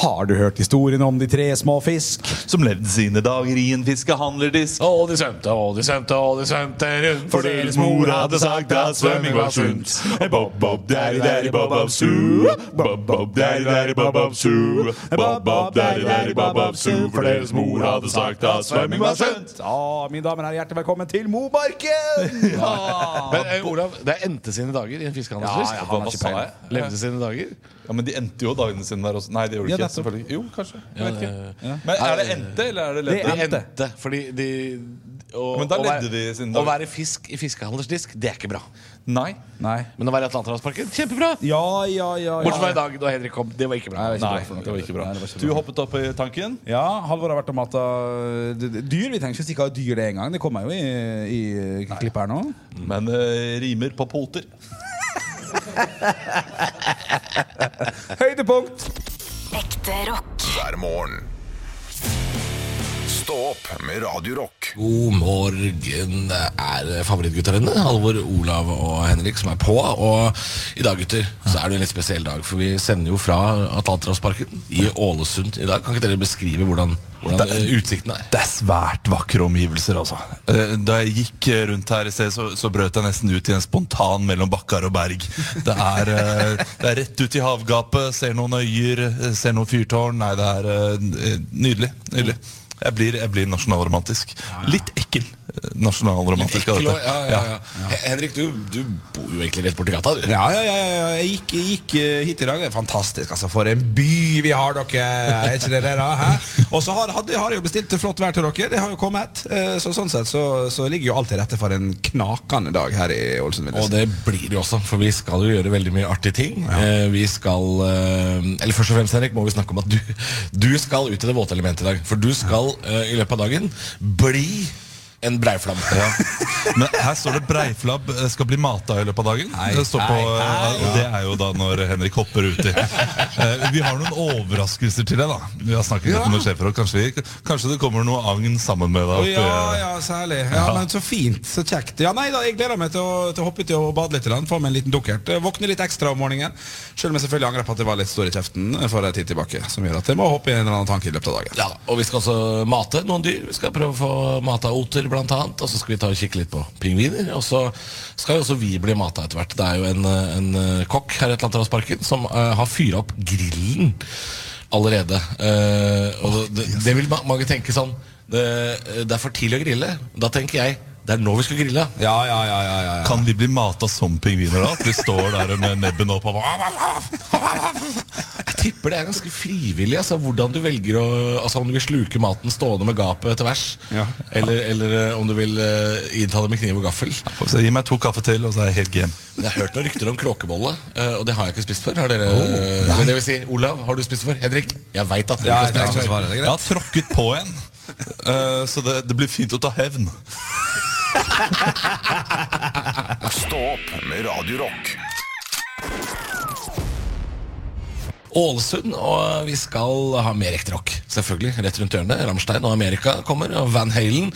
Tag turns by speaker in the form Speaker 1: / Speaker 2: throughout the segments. Speaker 1: Har du hørt historien om de tre små fisk?
Speaker 2: som levde sine dager i en fiskehandlerdisk.
Speaker 3: Og de svømte og de svømte og de svømte rundt.
Speaker 2: For deres mor hadde sagt at svømming var sunt. Bob-bob, daddy-daddy, bob-bob-su. Bob-bob, daddy-daddy, bob-bob-su. Bob-bob, daddy-daddy, bob-bob-su. For deres mor hadde sagt at svømming var sunt.
Speaker 1: Ja, mine damer og herrer, hjertelig velkommen til Momarken!
Speaker 3: Men eh, Olav, det er endte sine dager i en fiskehandelsfisk.
Speaker 2: Ja, ja, han har ikke peiling.
Speaker 3: Levde sine dager.
Speaker 2: Ja, Men de endte jo dagene sine der også. Nei, det gjorde
Speaker 1: Ja,
Speaker 2: de ikke.
Speaker 1: nettopp.
Speaker 2: selvfølgelig Jo, kanskje. Jeg vet ikke. Men er det endte, eller er det
Speaker 1: Det
Speaker 2: ledde?
Speaker 1: er-
Speaker 3: Eh, De
Speaker 1: Endte.
Speaker 3: endte fordi de å-
Speaker 2: Ja, men da
Speaker 3: å
Speaker 2: ledde
Speaker 3: være-
Speaker 2: de sine
Speaker 3: Å
Speaker 2: dager.
Speaker 3: være fisk i fiskehandelsdisk, det er ikke bra.
Speaker 2: Nei.
Speaker 1: Nei.
Speaker 3: Men å være i Atlanterhavsparken, kjempebra!
Speaker 1: Ja, ja, ja. ja.
Speaker 3: Bortsett fra i dag, da Henrik kom. Det var ikke bra.
Speaker 2: Nei, det var ikke bra.
Speaker 1: Nei, det var ikke
Speaker 2: Du hoppet opp i tanken.
Speaker 1: Ja, Halvor har vært og mata dyr. Vi trenger ikke å stikke av dyr det en gang. Det kommer jo i, i klippet her nå.
Speaker 2: Men eh, rimer på poter.
Speaker 1: Høydepunkt!
Speaker 4: Ekte rock.
Speaker 5: Hver morgen. Stå opp med Radio Rock.
Speaker 6: God morgen Det er favorittgutta dine Halvor, Olav og Henrik som er på Og i dag gutter så er det en litt spesiell dag For vi sender jo fra Atlanterhavsparken I Ålesund i dag Kan ikke dere beskrive hvordan, hvordan eh, utsikten er?
Speaker 2: Det er svært vakre omgivelser, altså. Eh, Da jeg gikk eh, rundt her i sted, så, så brøt jeg nesten ut i en spontan mellom bakkar og berg. Det er, eh, det er rett ut i havgapet, ser noen øyer, eh, ser noen fyrtårn. Nei, det er eh, nydelig. nydelig. Jeg blir, jeg blir nasjonalromantisk. Litt ekkel eh, nasjonalromantisk av
Speaker 6: Ekkel og-
Speaker 2: dette.
Speaker 6: ja, ja, ja. He- Henrik, du, du bor jo egentlig rett borti gata du.
Speaker 7: Ja, ja, ja, ja, ja. jeg gikk, jeg gikk eh, hit i dag. Det er fantastisk. altså For en by vi har, dere! Er ikke det det, da? hæ? Og så har, hadde, har jeg jo bestilt flott vær til dere. Det har jo kommet. Eh, Så sånn sett så, så ligger jo alt til rette for en knakende dag her i Ålesund. vil jeg
Speaker 6: Og
Speaker 7: si.
Speaker 6: det blir det jo også, for vi skal jo gjøre veldig mye artige ting. Eh, vi skal eh, Eller først og fremst, Henrik, må vi snakke om at du, du skal ut i det våte elementet i dag. For du skal eh, i løpet av dagen bli en breiflabb.
Speaker 2: Men her står det breiflabb eh, skal bli mata i løpet av dagen. det, står på, eh, og det er jo da når Henrik hopper uti. Eh, Vi har noen overraskelser til deg, da. Vi har snakket litt med sjefer, og kanskje, vi- kanskje det kommer noe agn sammen med deg.
Speaker 7: Å,
Speaker 2: oppi,
Speaker 7: ja,
Speaker 2: eh,
Speaker 7: ja, særlig. Ja, men Så fint. Så kjekt. Ja, nei da, Jeg gleder meg til å, til å hoppe uti og bade litt. i land, Få meg en liten dukkert. Eh, Våkne litt ekstra om morgenen. Selv om jeg selvfølgelig angrer på at jeg var litt stor i kjeften eh, for en tid tilbake. Som gjør at jeg må hoppe i en eller annen tanke i løpet av dagen.
Speaker 6: Ja, og vi skal også mate noen dyr. Vi skal prøve å få mata oter, blant annet. Og så skal vi ta og kikke litt på pingviner. Og så skal jo også vi bli mata etter hvert. Det er jo en, eh, en eh, kokk her i Atlanterhavsparken som eh, har fyra opp grillen allerede. Eh, og det, det vil ma- mange tenke sånn det, eh, det er for tidlig å grille. Da tenker jeg det er nå vi skal grille.
Speaker 7: Ja, ja, ja, ja, ja, ja.
Speaker 2: Kan vi bli mata som pingviner da? At vi står der med nebben opp og
Speaker 6: Jeg tipper det er ganske frivillig altså, hvordan du velger å Altså om du vil sluke maten stående med gapet etter vers,
Speaker 7: Ja.
Speaker 6: eller, eller eh, om du vil eh, innta det med kniv og gaffel.
Speaker 2: Så Gi meg to kaffe til, og så er jeg helt game.
Speaker 6: Jeg har hørt noen rykter om kråkebolle, eh, og det har jeg ikke spist før. Har dere, men det vil si, Olav, har du spist før? Henrik, jeg veit at dere
Speaker 7: Ja, jeg
Speaker 6: ikke har
Speaker 7: trenger
Speaker 6: spist
Speaker 7: ikke å
Speaker 6: før.
Speaker 7: svare. Det er greit.
Speaker 2: Jeg har tråkket på en, Eh, så det, det blir fint å ta hevn.
Speaker 5: Stå opp med Radio Rock.
Speaker 6: Ålesund, og vi skal ha mer ekte rock. Selvfølgelig. Rett rundt hjørnet. Rammstein og Amerika kommer, og Van Halen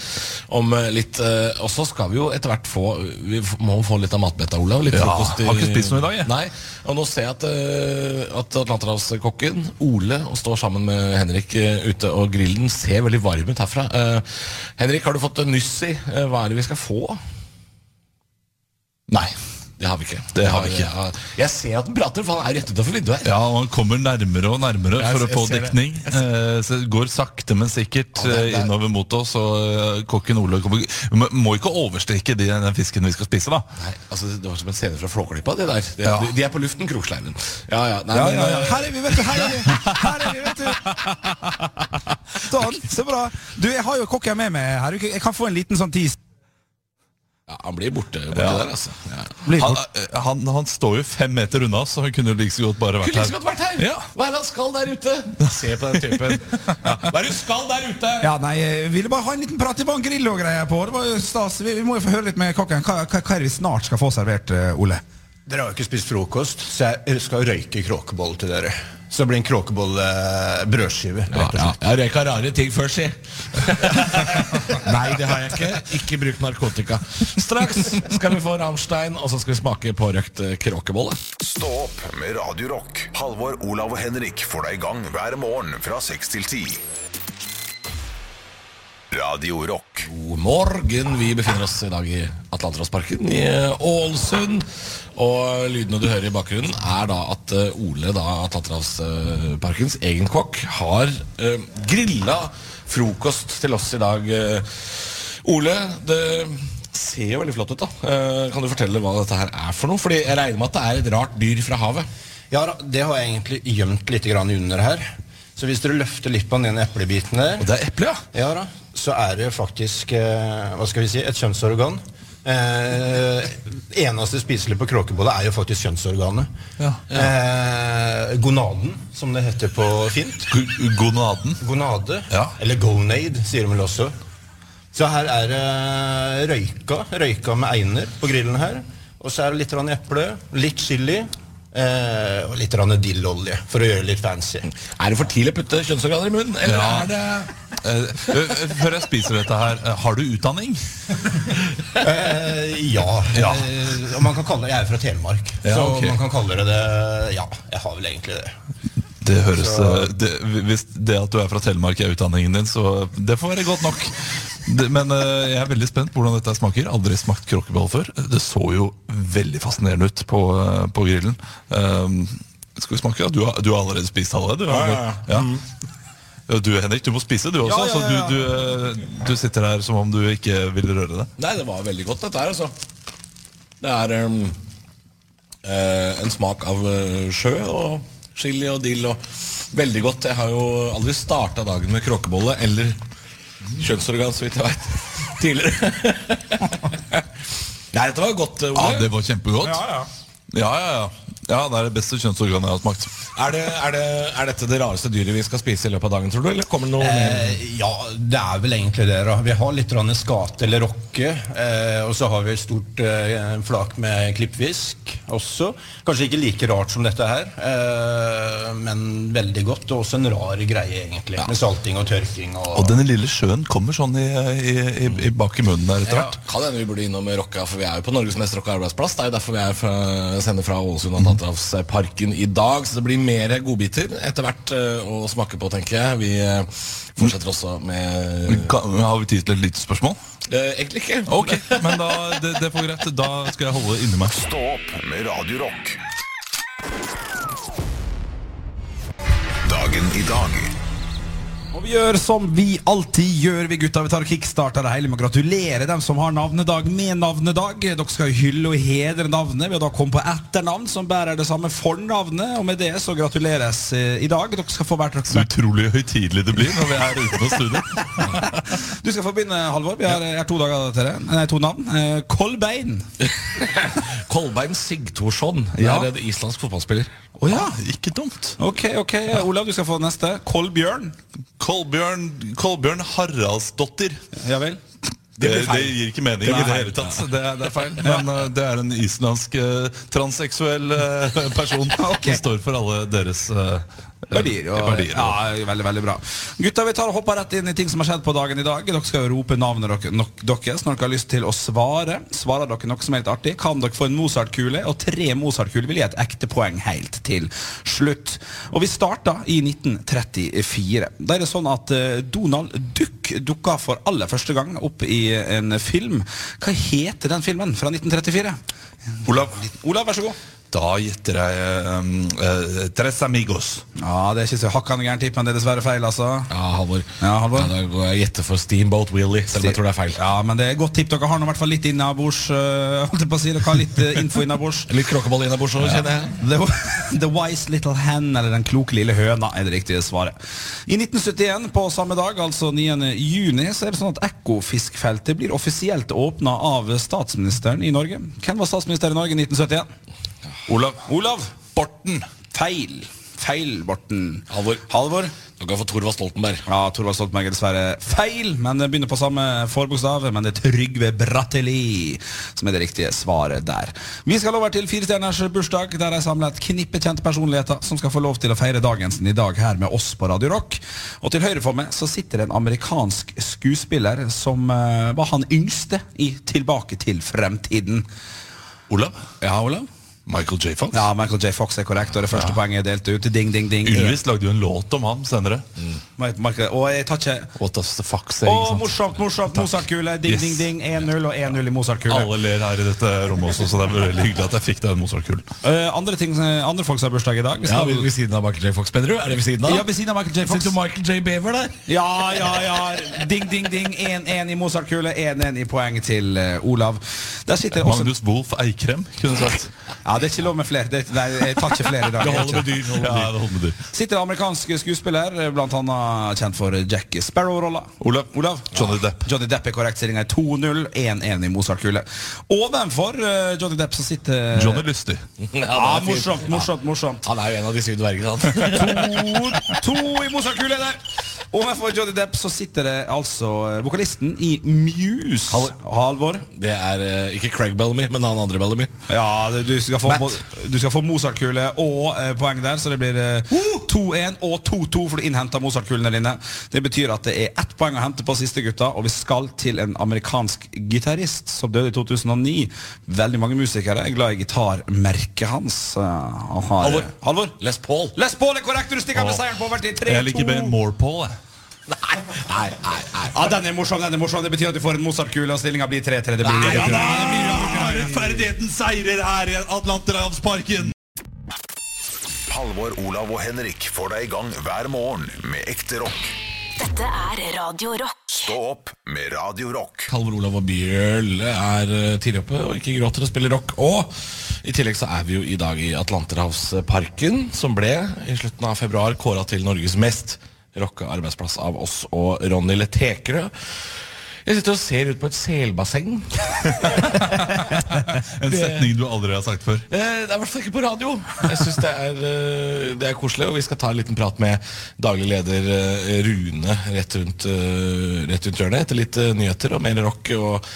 Speaker 6: om eh, litt. eh, Og så skal vi jo etter hvert få Vi f- må få litt av matbetta, Olav. Litt
Speaker 2: Ja,
Speaker 6: frokost i-
Speaker 2: har ikke spist noe i dag, jeg.
Speaker 6: Nei. Og nå ser jeg at, eh, at Atlanterhavskokken, Ole, og står sammen med Henrik eh, ute, og grillen ser veldig varm ut herfra. Eh, Henrik, har du fått nyss i eh, hva er det vi skal få? Nei. Det har vi ikke.
Speaker 2: Det har vi ikke.
Speaker 6: Jeg, jeg ser at den prater, for han er rett utenfor vinduet her.
Speaker 2: Ja, og han kommer nærmere og nærmere
Speaker 6: Jeg-
Speaker 2: for å
Speaker 6: jeg
Speaker 2: få
Speaker 6: ser det.
Speaker 2: dekning. Eh, Så det går sakte, men sikkert
Speaker 6: Ja, det-
Speaker 2: eh,
Speaker 6: det er-
Speaker 2: innover mot oss. Og eh, kokken Ole kommer Vi må- må ikke overstreke de, den fisken vi skal spise, da.
Speaker 6: Nei, altså Det var som en scene fra Flåklypa. det der de,
Speaker 2: Ja.
Speaker 6: de, de er på luften, Kroksleiven. Ja, ja, nei,
Speaker 7: Ja,
Speaker 6: men,
Speaker 7: ja, ja.
Speaker 6: eh,
Speaker 7: Her er vi, vet du! Her er vi, her er vi vet du Sånn, så bra. Du, jeg har jo kokken med meg her. Jeg kan få en liten sånn tis.
Speaker 6: ja, Han blir borte, borte der, altså. Ja.
Speaker 2: Han, eh, han, han står jo fem meter unna, så han kunne jo like så godt bare
Speaker 6: Kunne
Speaker 2: vært
Speaker 6: liksom
Speaker 2: her.
Speaker 6: godt vært her!
Speaker 2: Ja.
Speaker 6: Hva er det han skal der ute? Se på den typen. Ja. Hva er det du skal der ute?
Speaker 7: Ja, nei, jeg ville bare ha en liten prat. Det var en grill og greier på. Det var jo stas. Vi, vi må jo få høre litt med kokken. Hva, hva, hva er det vi snart skal få servert, eh, Ole?
Speaker 8: Dere har jo ikke spist frokost, så jeg skal røyke kråkebolle til dere. Så det blir en eh, kråkebollebrødskive.
Speaker 6: Ja, ja. Jeg røyka rare ting før, si. Nei, det har jeg ikke. Ikke bruk narkotika. Straks skal vi få Rammstein, og så skal vi smake pårøkt eh, kråkebolle.
Speaker 5: Stå opp med Radio Rock. Halvor, Olav og Henrik får deg i gang hver morgen fra 6 til 10. Radio Rock.
Speaker 6: God morgen. Vi befinner oss i dag i Atlanterhavsparken i eh, Ålesund. Og lydene du hører i bakgrunnen, er da at eh, Ole, da Atlanterhavsparkens egen kokk, har eh, grilla frokost til oss i dag. Eh, Ole, det ser jo veldig flott ut, da. Eh, Kan du fortelle hva dette her er for noe? Fordi jeg regner med at det er et rart dyr fra havet.
Speaker 8: Ja, da, det har jeg egentlig gjemt litt grann under her. Så hvis dere løfter litt på den ene eplebiten der,
Speaker 6: Og det er eple, ja?
Speaker 8: ja da, så er det faktisk eh, hva skal vi si, et kjønnsorgan. Eh, eneste spiselige på kråkebolle er jo faktisk kjønnsorganet. Eh, gonaden, som det heter på fint.
Speaker 2: G- Gonaden.
Speaker 8: Gonade,
Speaker 2: Ja.
Speaker 8: eller gonade, sier de vel også. Så her er det røyka, røyka med einer på grillen her. Og så er det litt grann eple, litt chili eh, og litt grann dillolje, for å gjøre det litt fancy.
Speaker 6: Er det for tidlig å putte kjønnsorganer i munnen? Eller
Speaker 2: Ja.
Speaker 6: er det
Speaker 2: Eh, eh, Før jeg spiser dette her, eh, har du utdanning?
Speaker 8: Eh, ja.
Speaker 2: Ja.
Speaker 8: Eh, og man kan kalle det, jeg er fra Telemark,
Speaker 2: Ja,
Speaker 8: så
Speaker 2: ok.
Speaker 8: man kan kalle det det Ja, jeg har vel egentlig det.
Speaker 2: Det høres eh, det, Hvis det at du er fra Telemark er utdanningen din, så det får være godt nok. Det, men eh, jeg er veldig spent på hvordan dette smaker. Aldri smakt kråkebolle før. Det så jo veldig fascinerende ut på, eh, på grillen. Um, skal vi smake? Ja, Du, har- du har allerede spist halve? Du, ja, ja, ja. Ja, Du Henrik, du må spise du
Speaker 7: Mm.
Speaker 2: også.
Speaker 7: ja, ja,
Speaker 2: Så du, du, eh, du sitter her som om du ikke vil røre det.
Speaker 6: Nei, det var veldig godt dette her, altså. Det er ehm, eh, en smak av eh, sjø og chili og dill og Veldig godt. Jeg har jo aldri starta dagen med kråkebolle eller kjønnsorgan, så vidt jeg veit. Tidligere. Nei, dette var godt, eh,
Speaker 2: Ja,
Speaker 6: Ole.
Speaker 2: Det var kjempegodt. Ja, ja, ja. ja Det er det beste kjønnsorganet jeg har smakt.
Speaker 6: Er, det, er, det, er dette det rareste dyret vi skal spise i løpet av dagen, tror du? Eller kommer det noe mer?
Speaker 8: Eh, ja, det er vel egentlig det. da. Vi har litt grann skate eller rocke. Eh, og så har vi et stort eh, flak med klippfisk også. Kanskje ikke like rart som dette her, eh, men veldig godt. Og også en rar greie, egentlig. Med salting og tørking. Og,
Speaker 2: Og den lille sjøen kommer sånn i, i, i, i bak i munnen der etter hvert.
Speaker 6: Kan hende vi burde innom Rocka, for vi er jo på Norges mest rocka arbeidsplass. Det er jo derfor vi er fra, sender fra Ålesund Atlanterhavsparken i dag. Så det blir mer godbiter etter hvert eh, å smake på, tenker jeg. Vi eh, fortsetter også med
Speaker 2: Kan, har vi tid til et lite spørsmål?
Speaker 6: eh, Egentlig ikke.
Speaker 2: Ok, men da, det, det får greit. Da skal jeg holde inni meg.
Speaker 5: Stå opp med Radio Rock. Dagen i dag.
Speaker 7: Og vi gjør som vi alltid gjør, vi gutta. Vi tar og kickstarter det hele med å gratulere dem som har navnedag med navnedag. Dere skal jo hylle og hedre navnet ved å da komme på etternavn som bærer det samme fornavnet. Og med det så gratuleres eh, i dag. Dere skal få hvert
Speaker 2: Så
Speaker 7: deres
Speaker 2: utrolig høytidelig det blir når vi er ute på studio.
Speaker 7: Du skal få begynne, Halvor. Vi har, jeg har to dager til dere. Nei, to navn. Eh, Kolbein.
Speaker 6: Kolbein Sigtorsson.
Speaker 7: Ja.
Speaker 6: Det er en islandsk fotballspiller.
Speaker 7: Å ja.
Speaker 2: Ikke dumt.
Speaker 7: Ok, ok. Olav, du skal få neste. Kolbjørn.
Speaker 2: Kolbjørn, Kolbjørn Haraldsdottir.
Speaker 7: Ja vel.
Speaker 2: Det, det gir ikke mening i det hele tatt. Det er, det er feil. Men eh, det er en islandsk eh, transseksuell eh, person som står for alle deres eh,
Speaker 7: Verdier. Og,
Speaker 2: verdier.
Speaker 7: Ja, veldig, veldig bra. Gutta, vi tar og hopper rett inn i ting som har skjedd på dagen i dag. Dere skal jo rope navnet dere, nok, deres når dere har lyst til å svare. Svarer dere noe som er litt artig, kan dere få en Mozart-kule, og tre Mozart-kuler vil gi et ekte poeng helt til slutt. Og vi starta i 1934. Da er det sånn at eh, Donald Duck dukka for aller første gang opp i en film. Hva heter den filmen fra 1934?
Speaker 2: Olav,
Speaker 7: Olav, vær så god.
Speaker 2: da gjetter jeg eh, eh, Tres Amigos.
Speaker 7: Ja, Det er ikke så hakkande gærent tipp, men det er dessverre feil, altså.
Speaker 6: Ja, Halvor.
Speaker 7: Ja, Halvor.
Speaker 6: da går jeg og gjetter for Steamboat Willie, selv om jeg tror det er feil.
Speaker 7: Ja, men det er godt tipp. Dere har nå i hvert fall litt innabords. øh, holdt jeg på å si. Dere har litt øh, info innabords.
Speaker 6: Litt kråkebolle innabords òg, kjenner jeg.
Speaker 7: The, the wise little hen, eller Den kloke lille høna, er det riktige svaret. I 1971, på samme dag, altså 9. juni, så er det sånn at Ekofiskfeltet blir offisielt åpna av statsministeren i Norge. Hvem var statsminister i Norge i 1971?
Speaker 2: Olav.
Speaker 7: Olav
Speaker 2: Borten.
Speaker 7: Feil. feil, Borten.
Speaker 6: Halvor.
Speaker 7: Halvor.
Speaker 6: Du kan få Thorvald Stoltenberg.
Speaker 7: Ja, Torvald Stoltenberg er dessverre feil, men det begynner på samme forbokstav. Men det er Trygve Bratteli som er det riktige svaret der. Vi skal over til Firestjerners bursdag, der de samler et knippe kjente personligheter som skal få lov til å feire dagen sin i dag her med oss på Radio Rock. Og til høyre for meg så sitter det en amerikansk skuespiller som eh, var han yngste i Tilbake til fremtiden.
Speaker 2: Olav?
Speaker 7: Ja, Olav?
Speaker 2: Michael J. Fox?
Speaker 7: Ja, Michael J. Fox er korrekt, og det første poenget er delt ut. Ding, ding, ding.
Speaker 2: Ylvis lagde jo en låt om ham senere.
Speaker 7: Michael, og jeg tar ikke
Speaker 2: What does the fuck
Speaker 7: Å,
Speaker 2: say? ikke sant?
Speaker 7: morsomt, morsomt! Mozartkule. Ding,
Speaker 2: Yes.
Speaker 7: ding, ding. 1-0 og 1-0 i Mozartkule.
Speaker 2: Alle ler her i dette rommet også, så det er veldig hyggelig at jeg fikk den Mozart-kulen.
Speaker 7: Eh, andre, ting, eh, andre folk som har bursdag i dag. Vi
Speaker 6: Ja,
Speaker 7: skal,
Speaker 6: ved, ved siden av Michael J. Fox, mener du? Er det ved siden av?
Speaker 7: ja, ved siden av Michael J. Fox.
Speaker 6: Sitter Michael J. Beaver der?
Speaker 7: Ja, ja, ja. Ding, ding, ding. 1-1 i Mozartkule. 1-1 i poeng til eh, Olav. Der sitter også
Speaker 2: Magnus Wolff Eikrem, kunne sagt.
Speaker 7: Ja, det er ikke lov med flere. Det, nei, jeg tar ikke flere i dag.
Speaker 2: Det holder med dyr. det holder med dyr. Ja, det holder med dyr.
Speaker 7: Sitter en amerikansk skuespiller, eh, blant annet kjent for Jack Sparrow-rolla.
Speaker 2: Olav. Johnny Depp.
Speaker 7: Johnny Depp er korrekt. Stillinga er 2-0. 1-1 i Mozartkule. Ovenfor eh, Johnny Depp så sitter
Speaker 2: Johnny Lystig.
Speaker 7: Ja,
Speaker 6: det er fint.
Speaker 7: morsomt, morsomt, morsomt.
Speaker 6: Han er jo en av de syv dvergene, han.
Speaker 7: To, to i Mozartkule der. Ovenfor Johnny Depp så sitter det altså eh, vokalisten i Muse.
Speaker 6: Halvor.
Speaker 7: Halvor.
Speaker 6: Det er eh, ikke Craig Bellamy, men han andre Bellamy.
Speaker 7: Ja, det- du skal få,
Speaker 6: Matt.
Speaker 7: mo- du skal få Mozart-kule og eh, poeng der, så det blir eh, 2-1 og 2-2 for du innhenter Mozart-kulene dine. Det betyr at det er ett poeng å hente på siste gutta, og vi skal til en amerikansk gitarist som døde i 2009. Veldig mange musikere er glad i gitarmerket hans. Eh, Han har,
Speaker 6: Halvor.
Speaker 7: Halvor.
Speaker 6: Les Paul.
Speaker 7: Les Paul er korrekt, du stikker med seieren på over til 3-2.
Speaker 2: Jeg liker bedre Morpole.
Speaker 6: Nei, nei, nei. nei.
Speaker 7: Ja, den er morsom, den er morsom. Det betyr at du får en Mozart-kule, og stillinga blir 3-3. Det blir
Speaker 2: Ja,
Speaker 7: litt-
Speaker 2: da blir det rettferdigheten seirer her i Atlanterhavsparken!
Speaker 5: Halvor, Olav og Henrik får deg i gang hver morgen med ekte rock.
Speaker 4: Dette er Radio Rock.
Speaker 5: Stå opp med Radio Rock.
Speaker 6: Halvor Olav og Bjørle er eh, tidlig oppe og ikke gråter og spiller rock. Og i tillegg så er vi jo i dag i Atlanterhavsparken, som ble i slutten av februar kåra til Norges mest rocka arbeidsplass av oss og Ronny Letekerø. Jeg sitter og ser ut på et selbasseng.
Speaker 2: En setning du aldri har sagt før.
Speaker 6: Eh, Det er i hvert fall ikke på radio. Jeg synes det, er, eh, det er koselig, og vi skal ta en liten prat med daglig leder eh, Rune rett rundt, eh, rett rundt hjørnet etter litt eh, nyheter og mer rock. Og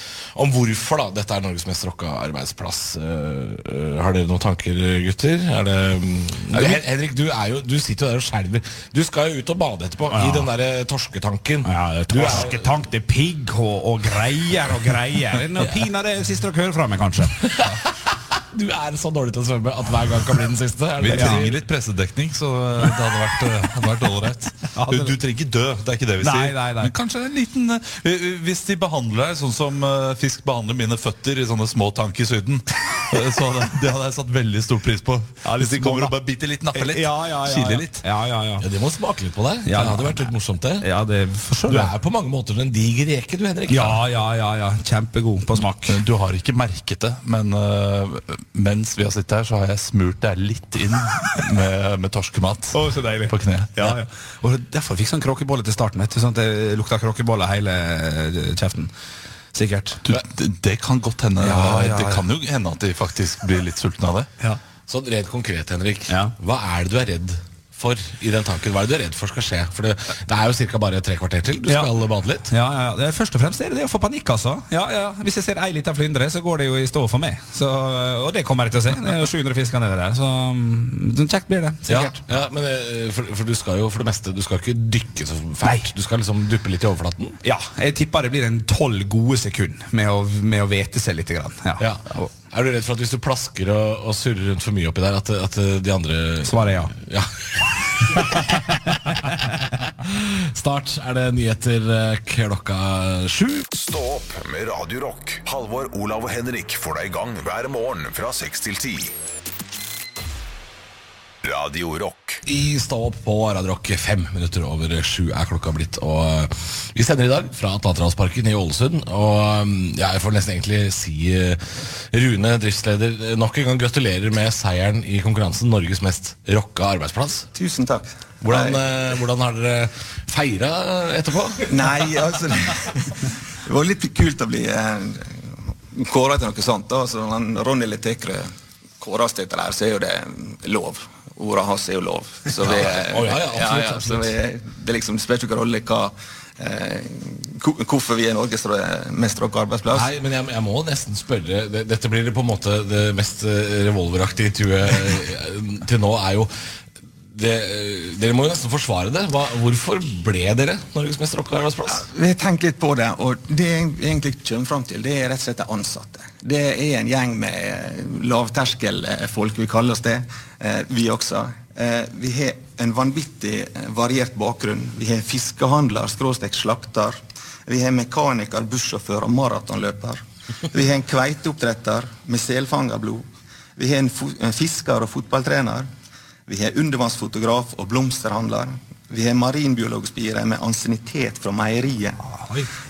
Speaker 6: om hvorfor da dette er Norges mest rocka arbeidsplass. Eh, eh, Har dere noen tanker, gutter? Er det, mm, du, Hen- Henrik, du, er jo, du sitter jo der og skjelver. Du skal jo ut og bade etterpå i den der eh, torsketanken.
Speaker 7: Ja,
Speaker 6: Du er-
Speaker 7: Torsketank til pigg og, og greier og greier. Det er noe pinadø det siste dere hører fra meg, kanskje.
Speaker 6: Du er så dårlig til å svømme at hver gang kan bli den siste. Er
Speaker 2: Vi
Speaker 6: det det du sier?
Speaker 2: trenger litt pressedekning, så det hadde vært, eh, hadde vært ålreit. Du, du trenger ikke dø, det er ikke det vi
Speaker 7: Nei,
Speaker 2: sier.
Speaker 7: nei, nei.
Speaker 2: Men kanskje en liten eh, eh, Hvis de behandler deg sånn som eh, fisk behandler mine føtter i sånne små tank i Syden, eh, så hadde, det hadde jeg satt veldig stor pris på. hvis de kommer og bare biter litt, napper litt, kiler litt.
Speaker 7: Ja, ja, ja.
Speaker 6: Ja, Det må smake litt på deg.
Speaker 7: Ja.
Speaker 6: det hadde vært litt morsomt, det.
Speaker 7: Ja, det forstår
Speaker 6: Du er på mange måter en diger reke, du, Henrik.
Speaker 7: Ja, ja, ja, ja. Kjempegod på smak.
Speaker 2: Du har ikke merket det, men eh, mens vi har sittet her, så har jeg smurt deg litt inn med, med torskemat
Speaker 7: Å, så deilig.
Speaker 2: på kneet.
Speaker 7: Ja, ja. Og Derfor fikk jeg sånn kråkebolle til starten. Vet du, sånn at det lukta kråkebolle hele eh, kjeften. Sikkert.
Speaker 2: Du, det- det kan godt hende.
Speaker 7: Ja, ja, ja.
Speaker 2: Det kan jo hende at de faktisk blir litt sultne av det.
Speaker 7: Ja.
Speaker 6: Sånn rent konkret, Henrik.
Speaker 7: Ja.
Speaker 6: Hva er det du er redd for i den tanken? Hva er det du er redd for skal skje? For det, det er jo ca. bare tre kvarter til. Du
Speaker 7: Ja.
Speaker 6: skal bade litt.
Speaker 7: Ja, ja, ja. Det er- Først og fremst er det det å få panikk, altså. Ja, ja. Hvis jeg ser ei lita flyndre, så går det jo i stå for meg. Så, og det kommer jeg til å se. Det er jo 700 fisker nede der. Så mm, kjekt blir det.
Speaker 6: Ja,
Speaker 7: Sikkert.
Speaker 6: ja, men eh, for, for du skal jo for det meste Du skal ikke dykke så fælt. Du skal liksom duppe litt i overflaten.
Speaker 7: Ja. jeg tipper det blir en tolv gode sekund med å, med å vete seg litt. Grann. Ja.
Speaker 6: Ja. Er du redd for at hvis du plasker og, og surrer rundt for mye oppi der, at, at de andre
Speaker 7: Svaret er ja.
Speaker 6: Ja. Snart er det nyheter eh, klokka sju.
Speaker 5: Stå opp med Radio Rock. Halvor, Olav og Henrik får deg i gang hver morgen fra 6 til 10. Radio Rock.
Speaker 6: I Stå opp på Radio Rock, fem minutter over sju er klokka blitt. Og eh, vi sender i dag fra Atlanterhavsparken i Ålesund. Og eh, ja, jeg får nesten egentlig si eh, Rune, driftsleder, eh, nok en gang gratulerer med seieren i konkurransen Norges mest rocka arbeidsplass.
Speaker 9: Tusen takk.
Speaker 6: Hvordan,
Speaker 9: Nei,
Speaker 6: eh, hvordan har dere feira etterpå?
Speaker 7: eh?
Speaker 9: nei, altså det, det var litt kult å bli eh, kåra til noe sånt. da. Så når Ronny Letekrø kårer oss til dette, der, så er jo det lov.
Speaker 10: ordene hans er jo lov. Så vi,
Speaker 6: Å, ja, ja, absolutt,
Speaker 10: så vi, det, er liksom, det spiller ikke noen rolle hva eh, hvor- hvorfor vi er Norges eh, mest rocka arbeidsplass.
Speaker 6: Nei, men jeg, jeg må nesten spørre det- Dette blir det på en måte det mest eh, revolveraktige intervjuet eh, til nå er jo det, eh, Dere må jo nesten forsvare det. Hva, hvorfor ble dere Norges mest rocka arbeidsplass?
Speaker 10: Vi har tenkt litt på det, og det jeg egentlig kommer fram til, det er rett og slett de ansatte. Det er en gjeng med eh, lavterskelfolk, vi kaller oss det, eh, vi også. Eh, Vi har en vanvittig eh, variert bakgrunn. Vi har fiskehandler, skråstrek slakter. Vi har mekaniker, bussjåfør og maratonløper. Vi har en kveiteoppdretter med selfangerblod. Vi har en, fo en fisker og fotballtrener. Vi har undervannsfotograf og blomsterhandler. Vi har marinbiologspire med ansiennitet fra meieriet.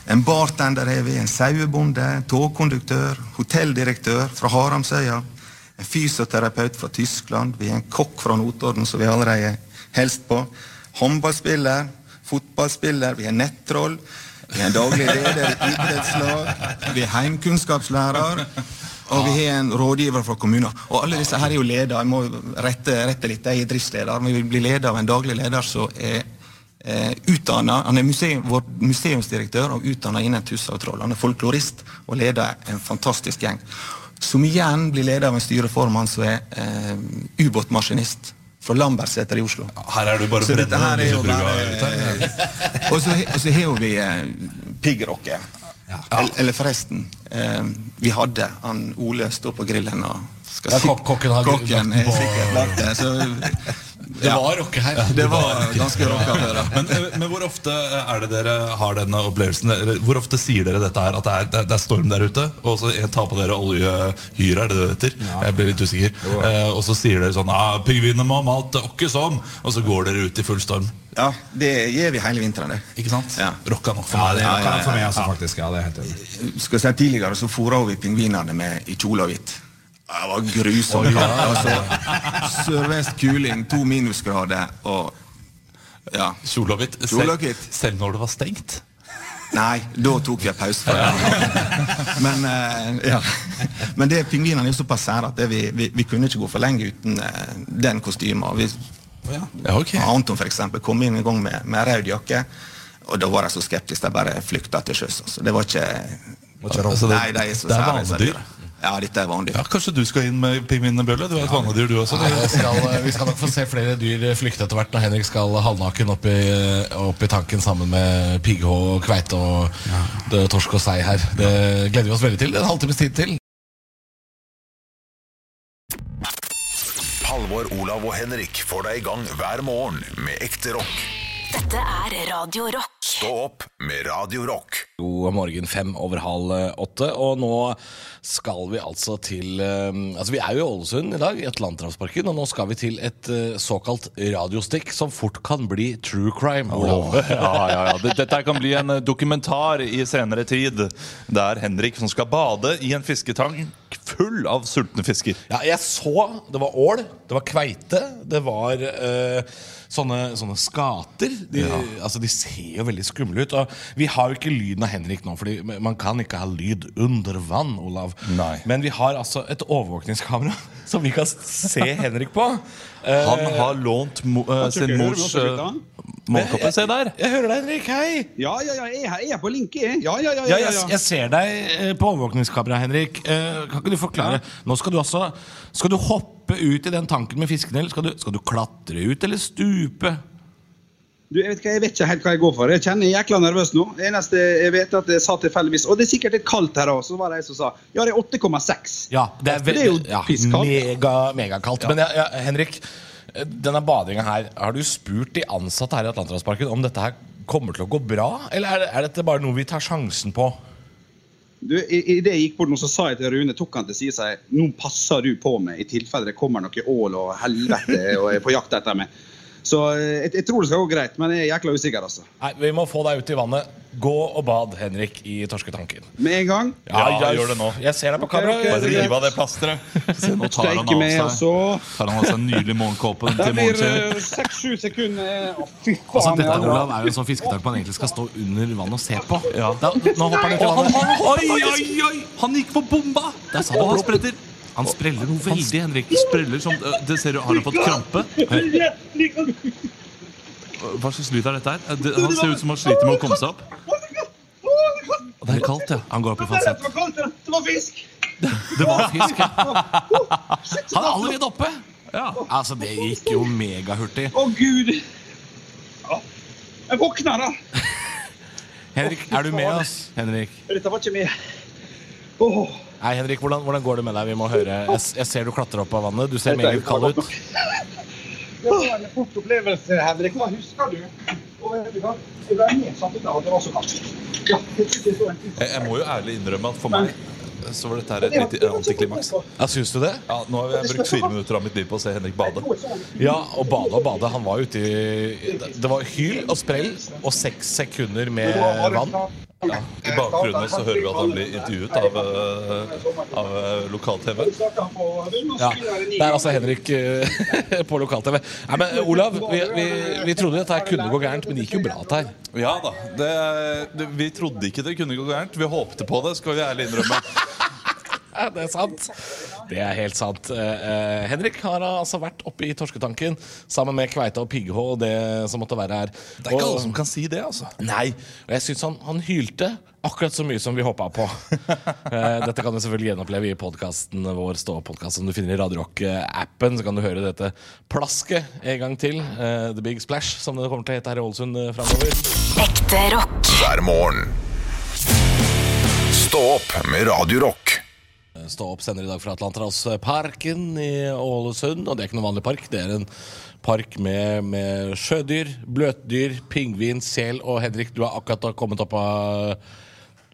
Speaker 10: En bartender har vi, en sauebonde, togkonduktør, hotelldirektør fra Haramsøya. En fysioterapeut fra Tyskland. Vi har en kokk fra Notodden som vi allerede helst på. Håndballspiller, fotballspiller, vi har nettroll. Vi har en daglig leder i idrettslag. Vi har heimkunnskapslærer. Og vi har en rådgiver fra kommunen. Og alle disse her er jo ledere. Jeg må rette, rette litt. Jeg er driftsleder, men vi blir leder av en daglig leder som er eh, utdanna Han er museum, vår museumsdirektør og utdanna innen Tussa og Troll. Han er folklorist og leder en fantastisk gjeng. Som igjen blir leder av en styreformann som er eh, ubåtmaskinist fra Lambertseter i Oslo.
Speaker 2: Her er du bare
Speaker 10: Så dette
Speaker 2: brennende,
Speaker 10: her er jo
Speaker 2: disse brua
Speaker 10: bare-
Speaker 2: ute her.
Speaker 10: Og så og så har jo vi eh, piggrocket. Eller, eller forresten, eh, vi hadde han Ole stå på grillen og skal
Speaker 6: Ja,
Speaker 10: si-
Speaker 6: kok- kokken har grillen
Speaker 10: kokken er
Speaker 6: på-
Speaker 10: sikkert lagt det. Så,
Speaker 6: Det var rocke her.
Speaker 10: det var ganske rocka før. da.
Speaker 2: Men, eh, men hvor ofte er det dere har denne opplevelsen? Eller Hvor ofte sier dere dette her? At det er, det er- det er storm der ute, og så jeg tar på dere oljehyre, er det det heter? Jeg ble litt usikker. Eh, og så sier dere sånn ah, 'Pingvinene må ha malt det åkke som', og så går dere ut i full storm.
Speaker 10: Ja, det gjør vi hele vinteren, det.
Speaker 2: Ikke sant?
Speaker 10: Ja.
Speaker 2: Rocka nok for
Speaker 7: Ja,
Speaker 2: meg.
Speaker 7: det
Speaker 2: det.
Speaker 7: kan jeg for meg også, altså, faktisk. Ja, det er helt enig.
Speaker 10: Skal jeg si Tidligere så fôra vi pingvinene med i kjole og hvitt. Det var grusomt. Altså, Sørvest kuling, to minusgrader og ja.
Speaker 2: Kjole og hvitt.
Speaker 10: Kjole og
Speaker 2: Selv,
Speaker 10: hvitt.
Speaker 2: selv når det var stengt.
Speaker 10: Nei, da tok vi en pause fra det. Men, eh, ja. Men det, pingvinene er jo såpass sære at det, vi, vi, vi kunne ikke gå for lenge uten eh, den kostymen. Vi,
Speaker 2: Ja, ok.
Speaker 10: Anton for eksempel, kom inn en gang med, med rød jakke, og da var de så skeptiske. De bare flykta til sjøs. Altså. Det var ikke
Speaker 2: Altså, det-
Speaker 10: Nei, de er så
Speaker 2: det er
Speaker 10: sære. så
Speaker 2: vanedyr.
Speaker 10: Ja, dette er vanedyr.
Speaker 2: Ja, Kanskje du skal inn med pingvinene, Bjølle? Du er et vanedyr, du også?
Speaker 6: Nei, det skal, vi skal nok få se flere dyr flykte etter hvert når Henrik skal halvnaken opp i, opp i tanken sammen med pigghå og kveite og det er torsk og sei her. Det gleder vi oss veldig til. En halvtimes tid til.
Speaker 5: Halvor, Olav og Henrik får deg i gang hver morgen med ekte rock.
Speaker 4: Dette er Radio Rock.
Speaker 5: Stå opp med Radio Rock.
Speaker 6: God morgen, fem over halv eh, åtte. Og nå skal vi altså til eh, Altså, vi er jo i Ålesund i dag, i Atlanterhavsparken, og nå skal vi til et eh, såkalt radiostikk som fort kan bli true crime. Olav.
Speaker 11: Ja, ja, ja. Det- Dette her kan bli en eh, dokumentar i senere tid. Det er Henrik som skal bade i en fisketank full av sultne fisker.
Speaker 6: Ja, jeg så Det var ål, det var kveite, det var eh, sånne, sånne skater. De, altså, de ser jo veldig skumle ut. Og vi har jo ikke lyden av Henrik nå, Fordi man kan ikke ha lyd under vann. Olav
Speaker 11: Nei.
Speaker 6: Men vi har altså et overvåkningskamera som vi kan se Henrik på. Eh,
Speaker 11: Han har lånt mo eh, sin
Speaker 1: trykker du?
Speaker 11: mors
Speaker 1: Hvor trykker
Speaker 11: eh, målkoppe. Se der!
Speaker 6: jeg hører deg, Henrik. Hei!
Speaker 1: Ja, ja, ja, jeg er, her, jeg er på linke, jeg. Ja, ja, ja,
Speaker 6: Ja, jeg, jeg ser deg eh, på overvåkningskameraet, Henrik. Eh, Kan ikke du forklare Nå skal du altså Skal du hoppe ut i den tanken med fiskene, eller skal du, skal du klatre ut, eller stupe?
Speaker 1: Du, jeg, vet ikke, jeg vet ikke helt hva jeg går for. Jeg kjenner jeg er jækla nervøs nå. Det eneste jeg vet, er at jeg sa tilfeldigvis Og det er sikkert litt kaldt her òg, så var det jeg som sa. Ja, det er 8,6.
Speaker 6: Ja, det er,
Speaker 1: Det er jo
Speaker 6: veldig- ja,
Speaker 1: pisskaldt.
Speaker 6: Mega, megakaldt. Men ja, ja, Henrik, eh, denne badinga her, har du spurt de ansatte her i Atlanterhavsparken om dette her kommer til å gå bra, eller er, det, er dette bare noe vi tar sjansen på?
Speaker 1: Du, i, i det jeg gikk bort nå, så sa jeg til Rune, tok han til side og sa jeg, nå passer du på meg i tilfelle det kommer noe ål og helvete og er på jakt etter meg. Så eh, jeg, jeg tror det skal gå greit, men jeg er jækla usikker, altså.
Speaker 6: Nei, Vi må få deg ut i vannet. Gå og bad, Henrik, i torsketanken.
Speaker 1: Med en gang.
Speaker 11: Ja,
Speaker 6: jeg-
Speaker 11: gjør det nå.
Speaker 6: Jeg ser deg på
Speaker 1: Ok,
Speaker 6: kamera.
Speaker 1: ok,
Speaker 11: Bare
Speaker 1: det er
Speaker 11: riv av det plasteret. Se, nå tar han
Speaker 1: Steike med, altså.
Speaker 11: av
Speaker 1: og
Speaker 11: seg
Speaker 1: så
Speaker 11: Tar han av seg den nylig morgenkåpen
Speaker 1: Det
Speaker 11: til
Speaker 1: blir
Speaker 11: morgenkjøret.
Speaker 1: seks-sju sekunder. eh, Å, fy
Speaker 6: Altså,
Speaker 1: faen.
Speaker 6: dette
Speaker 1: jeg-
Speaker 6: Olav, er jo en sånn fisketank man egentlig skal stå under vannet og se på. Da, nå hopper han ut i vannet.
Speaker 11: Oi, oi, oi! Han gikk for bomba!
Speaker 6: Der sa det
Speaker 11: Og han
Speaker 6: plopp.
Speaker 11: spretter.
Speaker 10: Han spreller noe veldig, Henrik. Spreller som Det ser du, Har han fått krampe? Hva slags lyd er dette her? Det, han ser ut som han sliter med å komme seg opp. Det er kaldt, ja. Han går opp i falsett.
Speaker 6: Det var fisk!
Speaker 10: Det var fisk. ja.
Speaker 6: Han er allerede oppe!
Speaker 10: Ja. Altså, det gikk jo megahurtig.
Speaker 6: Å, gud! Ja. Jeg våkna, da.
Speaker 3: Henrik, er du med oss? Henrik?
Speaker 6: Dette var ikke mye. Åh,
Speaker 3: Nei, Henrik, hvordan, hvordan går det med deg? Vi må høre. Jeg, s- jeg ser du klatrer opp av vannet. Du ser meget kald ut.
Speaker 6: det var en fort opplevelse, Henrik. Hva husker du? Og vet du hva? Jeg ble nedsatt i dag, det var så kaldt. Ja, det synes jeg så en
Speaker 2: Jeg, jeg må jo ærlig innrømme at for meg så var dette her et lite antiklimaks.
Speaker 3: Ja, Syns du det?
Speaker 2: Ja, nå har jeg brukt fire minutter av mitt liv på å se Henrik bade.
Speaker 3: Ja, og bade og bade. Han var ute i Det var hyl og sprell og seks sekunder med vann.
Speaker 2: Ja, I bakgrunnen så hører vi at han blir intervjuet av, eh, av eh, lokal-TV.
Speaker 3: Ja, Det er altså Henrik eh, på lokal-TV. Nei, men eh, Olav, vi, vi, vi trodde dette her kunne gå gærent, men det gikk jo bra. Dette her.
Speaker 2: Ja da. Det, det, vi trodde ikke det kunne gå gærent. Vi håpte på det, skal vi ærlig innrømme.
Speaker 3: Ja, Det er sant. Det er helt sant. Eh, eh, Henrik har altså vært oppe i torsketanken sammen med Kveita og Pigghå og det som måtte være her. Det
Speaker 2: er ikke alle som kan si det, altså.
Speaker 3: Nei. Og jeg syns han, han hylte akkurat så mye som vi håpa på. Eh, dette kan du selvfølgelig gjenoppleve i podkasten vår, Stå-podkast, som du finner i Radio Rock-appen. Så kan du høre dette plasket en gang til. Eh, The Big Splash, som det kommer til å hete her i Ålesund eh, framover.
Speaker 4: Ekte rock.
Speaker 5: Hver morgen. Stå opp med Radio Rock.
Speaker 3: Eh, Stå opp senere i dag fra Atlanterhavsparken i Ålesund. Og det er ikke noen vanlig park. Det er en park med, med sjødyr, bløtdyr, pingvin, sel og Henrik, du har akkurat kommet opp av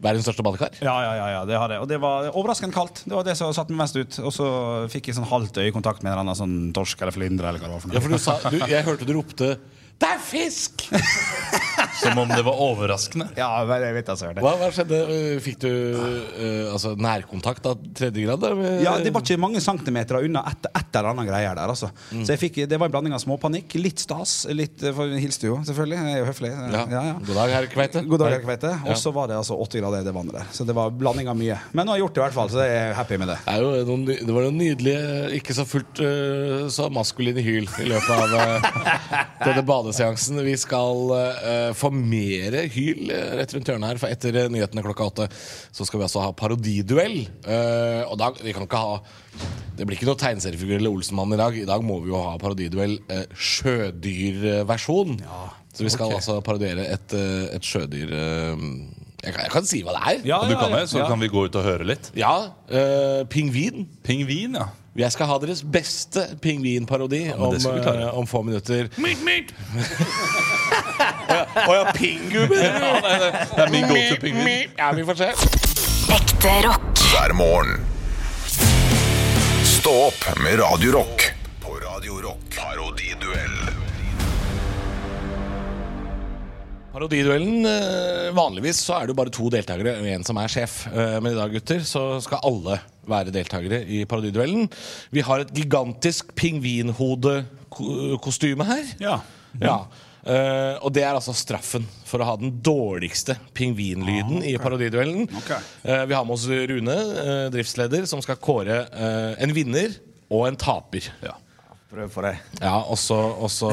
Speaker 3: verdens største badekar.
Speaker 7: Ja, ja, ja, ja, det har jeg. Og det var overraskende kaldt. Det var det som satte meg mest ut. Og så fikk jeg sånn halvt øyekontakt med en eller annen sånn torsk eller flyndre eller hva det var. for noe.
Speaker 3: Ja, for du sa, du, jeg hørte du ropte 'Det er fisk!'
Speaker 2: Som om det var overraskende.
Speaker 7: Ja, men jeg vet altså, jeg hørte det.
Speaker 3: Hva, hva skjedde? Eh, Fikk du eh, altså, nærkontakt av tredje grad? Da? med-
Speaker 7: Ja, Det var ikke mange centimeter unna et, et eller annet greier der. altså Så jeg fikk, Det var en blanding av småpanikk, litt stas, litt eh, For hun hilste jo, selvfølgelig. Jeg er jo høflig. Eh,
Speaker 3: Ja. God dag, herr Kveite.
Speaker 7: God dag, herr Kveite.
Speaker 3: Ja.
Speaker 7: Og så var det altså 80 grader i det vannet der. Så det var blanding av mye. Men nå har jeg gjort det i hvert fall, så jeg er happy med det.
Speaker 3: Det, er jo noen, ny- det var noen nydelige, ikke så fullt eh, så maskuline hyl i løpet av eh, denne badeseansen. Vi skal eh, få mer hyl eh, rett rundt hjørnet her, for etter eh, nyhetene klokka åtte så skal vi altså ha parodiduell. Eh, og da, vi kan ikke ha Det blir ikke noe tegneseriefigur eller Olsenmann i dag. I dag må vi jo ha parodiduell eh, sjødyrversjon. så vi skal
Speaker 2: ok.
Speaker 3: altså parodiere et, eh, et sjødyr eh, jeg, kan, jeg kan si hva det er.
Speaker 2: Ja, du kan det, så kan vi gå ut og høre litt.
Speaker 3: Ja. eh, pingvin. Pingvin, ja Jeg skal ha deres beste pingvinparodi
Speaker 2: men
Speaker 3: om,
Speaker 2: det skal vi klare.
Speaker 3: eh, om få minutter.
Speaker 6: Mitt, mitt!
Speaker 3: Å ja, pingu, mener du?
Speaker 2: Det er min go-to-pingvin.
Speaker 3: Ja, vi får se.
Speaker 4: Ekte rock.
Speaker 5: Hver morgen. Stå opp med Radio Rock. På Radio Rock. Parodiduell.
Speaker 3: Parodiduellen eh, Vanligvis så er det jo bare to deltakere og en som er sjef. Eh, Men i dag, gutter, så skal alle være deltakere i parodiduellen. Vi har et gigantisk pingvinhodekostyme her. Ja. Eh, og det er altså straffen for å ha den dårligste pingvinlyden i parodiduellen. Eh, vi har med oss Rune, eh, driftsleder, som skal kåre eh, en vinner og en taper. Ja.
Speaker 12: Prøv for deg.
Speaker 3: Ja, og så, og så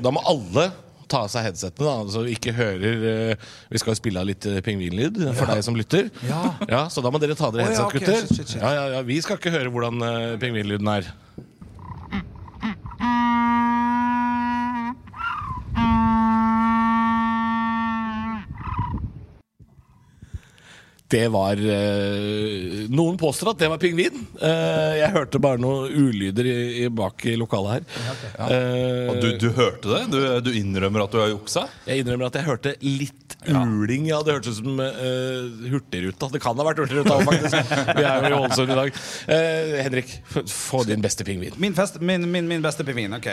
Speaker 3: Da må alle ta av seg headsettene, da, så vi ikke hører eh, Vi skal jo spille av litt eh, pingvinlyd for deg som lytter. Ja. Så da må dere ta
Speaker 6: Å,
Speaker 3: dere
Speaker 6: ja,
Speaker 3: headset,
Speaker 6: ok,
Speaker 3: gutter.
Speaker 6: shit, shit, shit.
Speaker 3: Ja, ja, ja, vi skal ikke høre hvordan eh, pingvinlyden er. Det var eh, Noen påstår at det var pingvin. Eh, jeg hørte bare noen ulyder i, i bak i lokalet her. Eh,
Speaker 2: Og du, du hørte det? Du, du innrømmer at du har juksa?
Speaker 3: Jeg innrømmer at jeg hørte litt uling. Ja, det hørtes ut som eh, Hurtigruta. Det kan ha vært Hurtigruta også, faktisk. Vi er jo i Ålesund i dag. Eh, Henrik, f- få din beste pingvin.
Speaker 7: Min, fest, min, min, min beste pingvin. OK.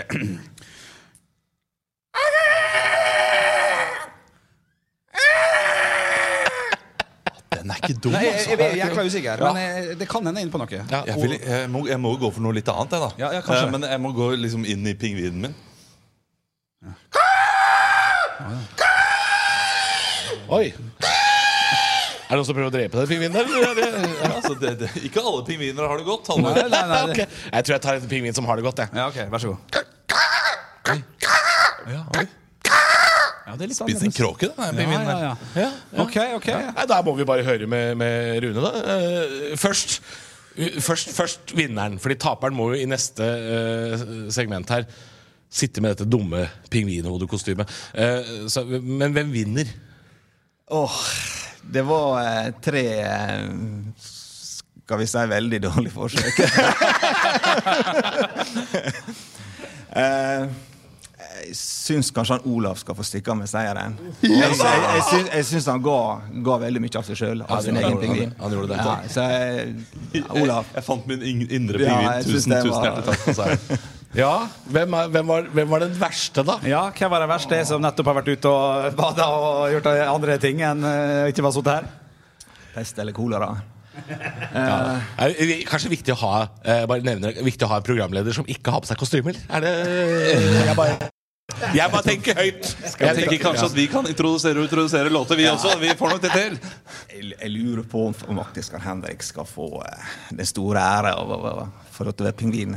Speaker 2: Den er ikke altså.
Speaker 7: Nei, jeg, jeg, jeg er jækla usikker, men jeg, det kan hende inn på noe.
Speaker 2: jeg, vil, jeg, må, jeg må gå for noe litt annet, jeg, da.
Speaker 7: ja, kanskje.
Speaker 2: Eh, Men jeg må gå liksom inn i pingvinen min.
Speaker 3: Oi. Er det noen som prøver å drepe den pingvinen der? eller er det-
Speaker 11: Ja, altså, det, det, ikke alle pingviner har det godt.
Speaker 3: Nei,
Speaker 11: Halvor.
Speaker 3: nei, nei, ok. Jeg tror jeg tar en pingvin som har det godt. Jeg.
Speaker 13: Ja, ok, vær så god
Speaker 3: Ja, det er litt
Speaker 13: Spiser en
Speaker 3: kråke,
Speaker 13: da, den pingvinen
Speaker 3: ja, ja, ja.
Speaker 13: Ok, ok
Speaker 3: Nei, Da må vi bare høre med, med Rune, da. Eh, først, u- først, først vinneren, fordi taperen må jo i neste eh, segment her sitte med dette dumme pingvinhodekostymet. Eh, så- men hvem vinner?
Speaker 10: Åh, det var eh, tre eh, Skal vi si veldig dårlige forsøk. eh, jeg syns kanskje han Olav skal få stikke av med seieren. Jeg, jeg, jeg, syns, jeg syns han ga, ga veldig mye av seg sjøl.
Speaker 11: Ja,
Speaker 10: Av sin
Speaker 11: han
Speaker 10: egen
Speaker 11: gjorde-
Speaker 10: pingvin.
Speaker 11: han- han gjorde det.
Speaker 10: Ja, så jeg, ja, Olav.
Speaker 11: Jeg fant min in- indre
Speaker 10: Ja,
Speaker 11: pingvin.
Speaker 10: jeg synes
Speaker 11: tusen,
Speaker 10: det
Speaker 11: tusen
Speaker 10: var-
Speaker 11: hjertelig takk. for seieren.
Speaker 3: Ja, hvem, er, hvem, var, hvem var den verste, da?
Speaker 13: Ja, hvem var den verste som nettopp har vært ute og bada og gjort andre ting enn eh, ikke bare sittet her?
Speaker 10: Pest eller kolera?
Speaker 3: Ja. Er det kanskje viktig å ha eh, Bare nevner, det, viktig å ha en programleder som ikke har på seg kostymer? Er det Jeg bare, jeg bare tenker høyt.
Speaker 11: Jeg tenker kanskje at vi kan introdusere og introdusere låter, vi
Speaker 10: Ja.
Speaker 11: også. Vi får nok det til.
Speaker 10: Jeg, jeg lurer på om, om faktisk Karl Henrik skal få eh, den store ære av å å- for at du er pingvin.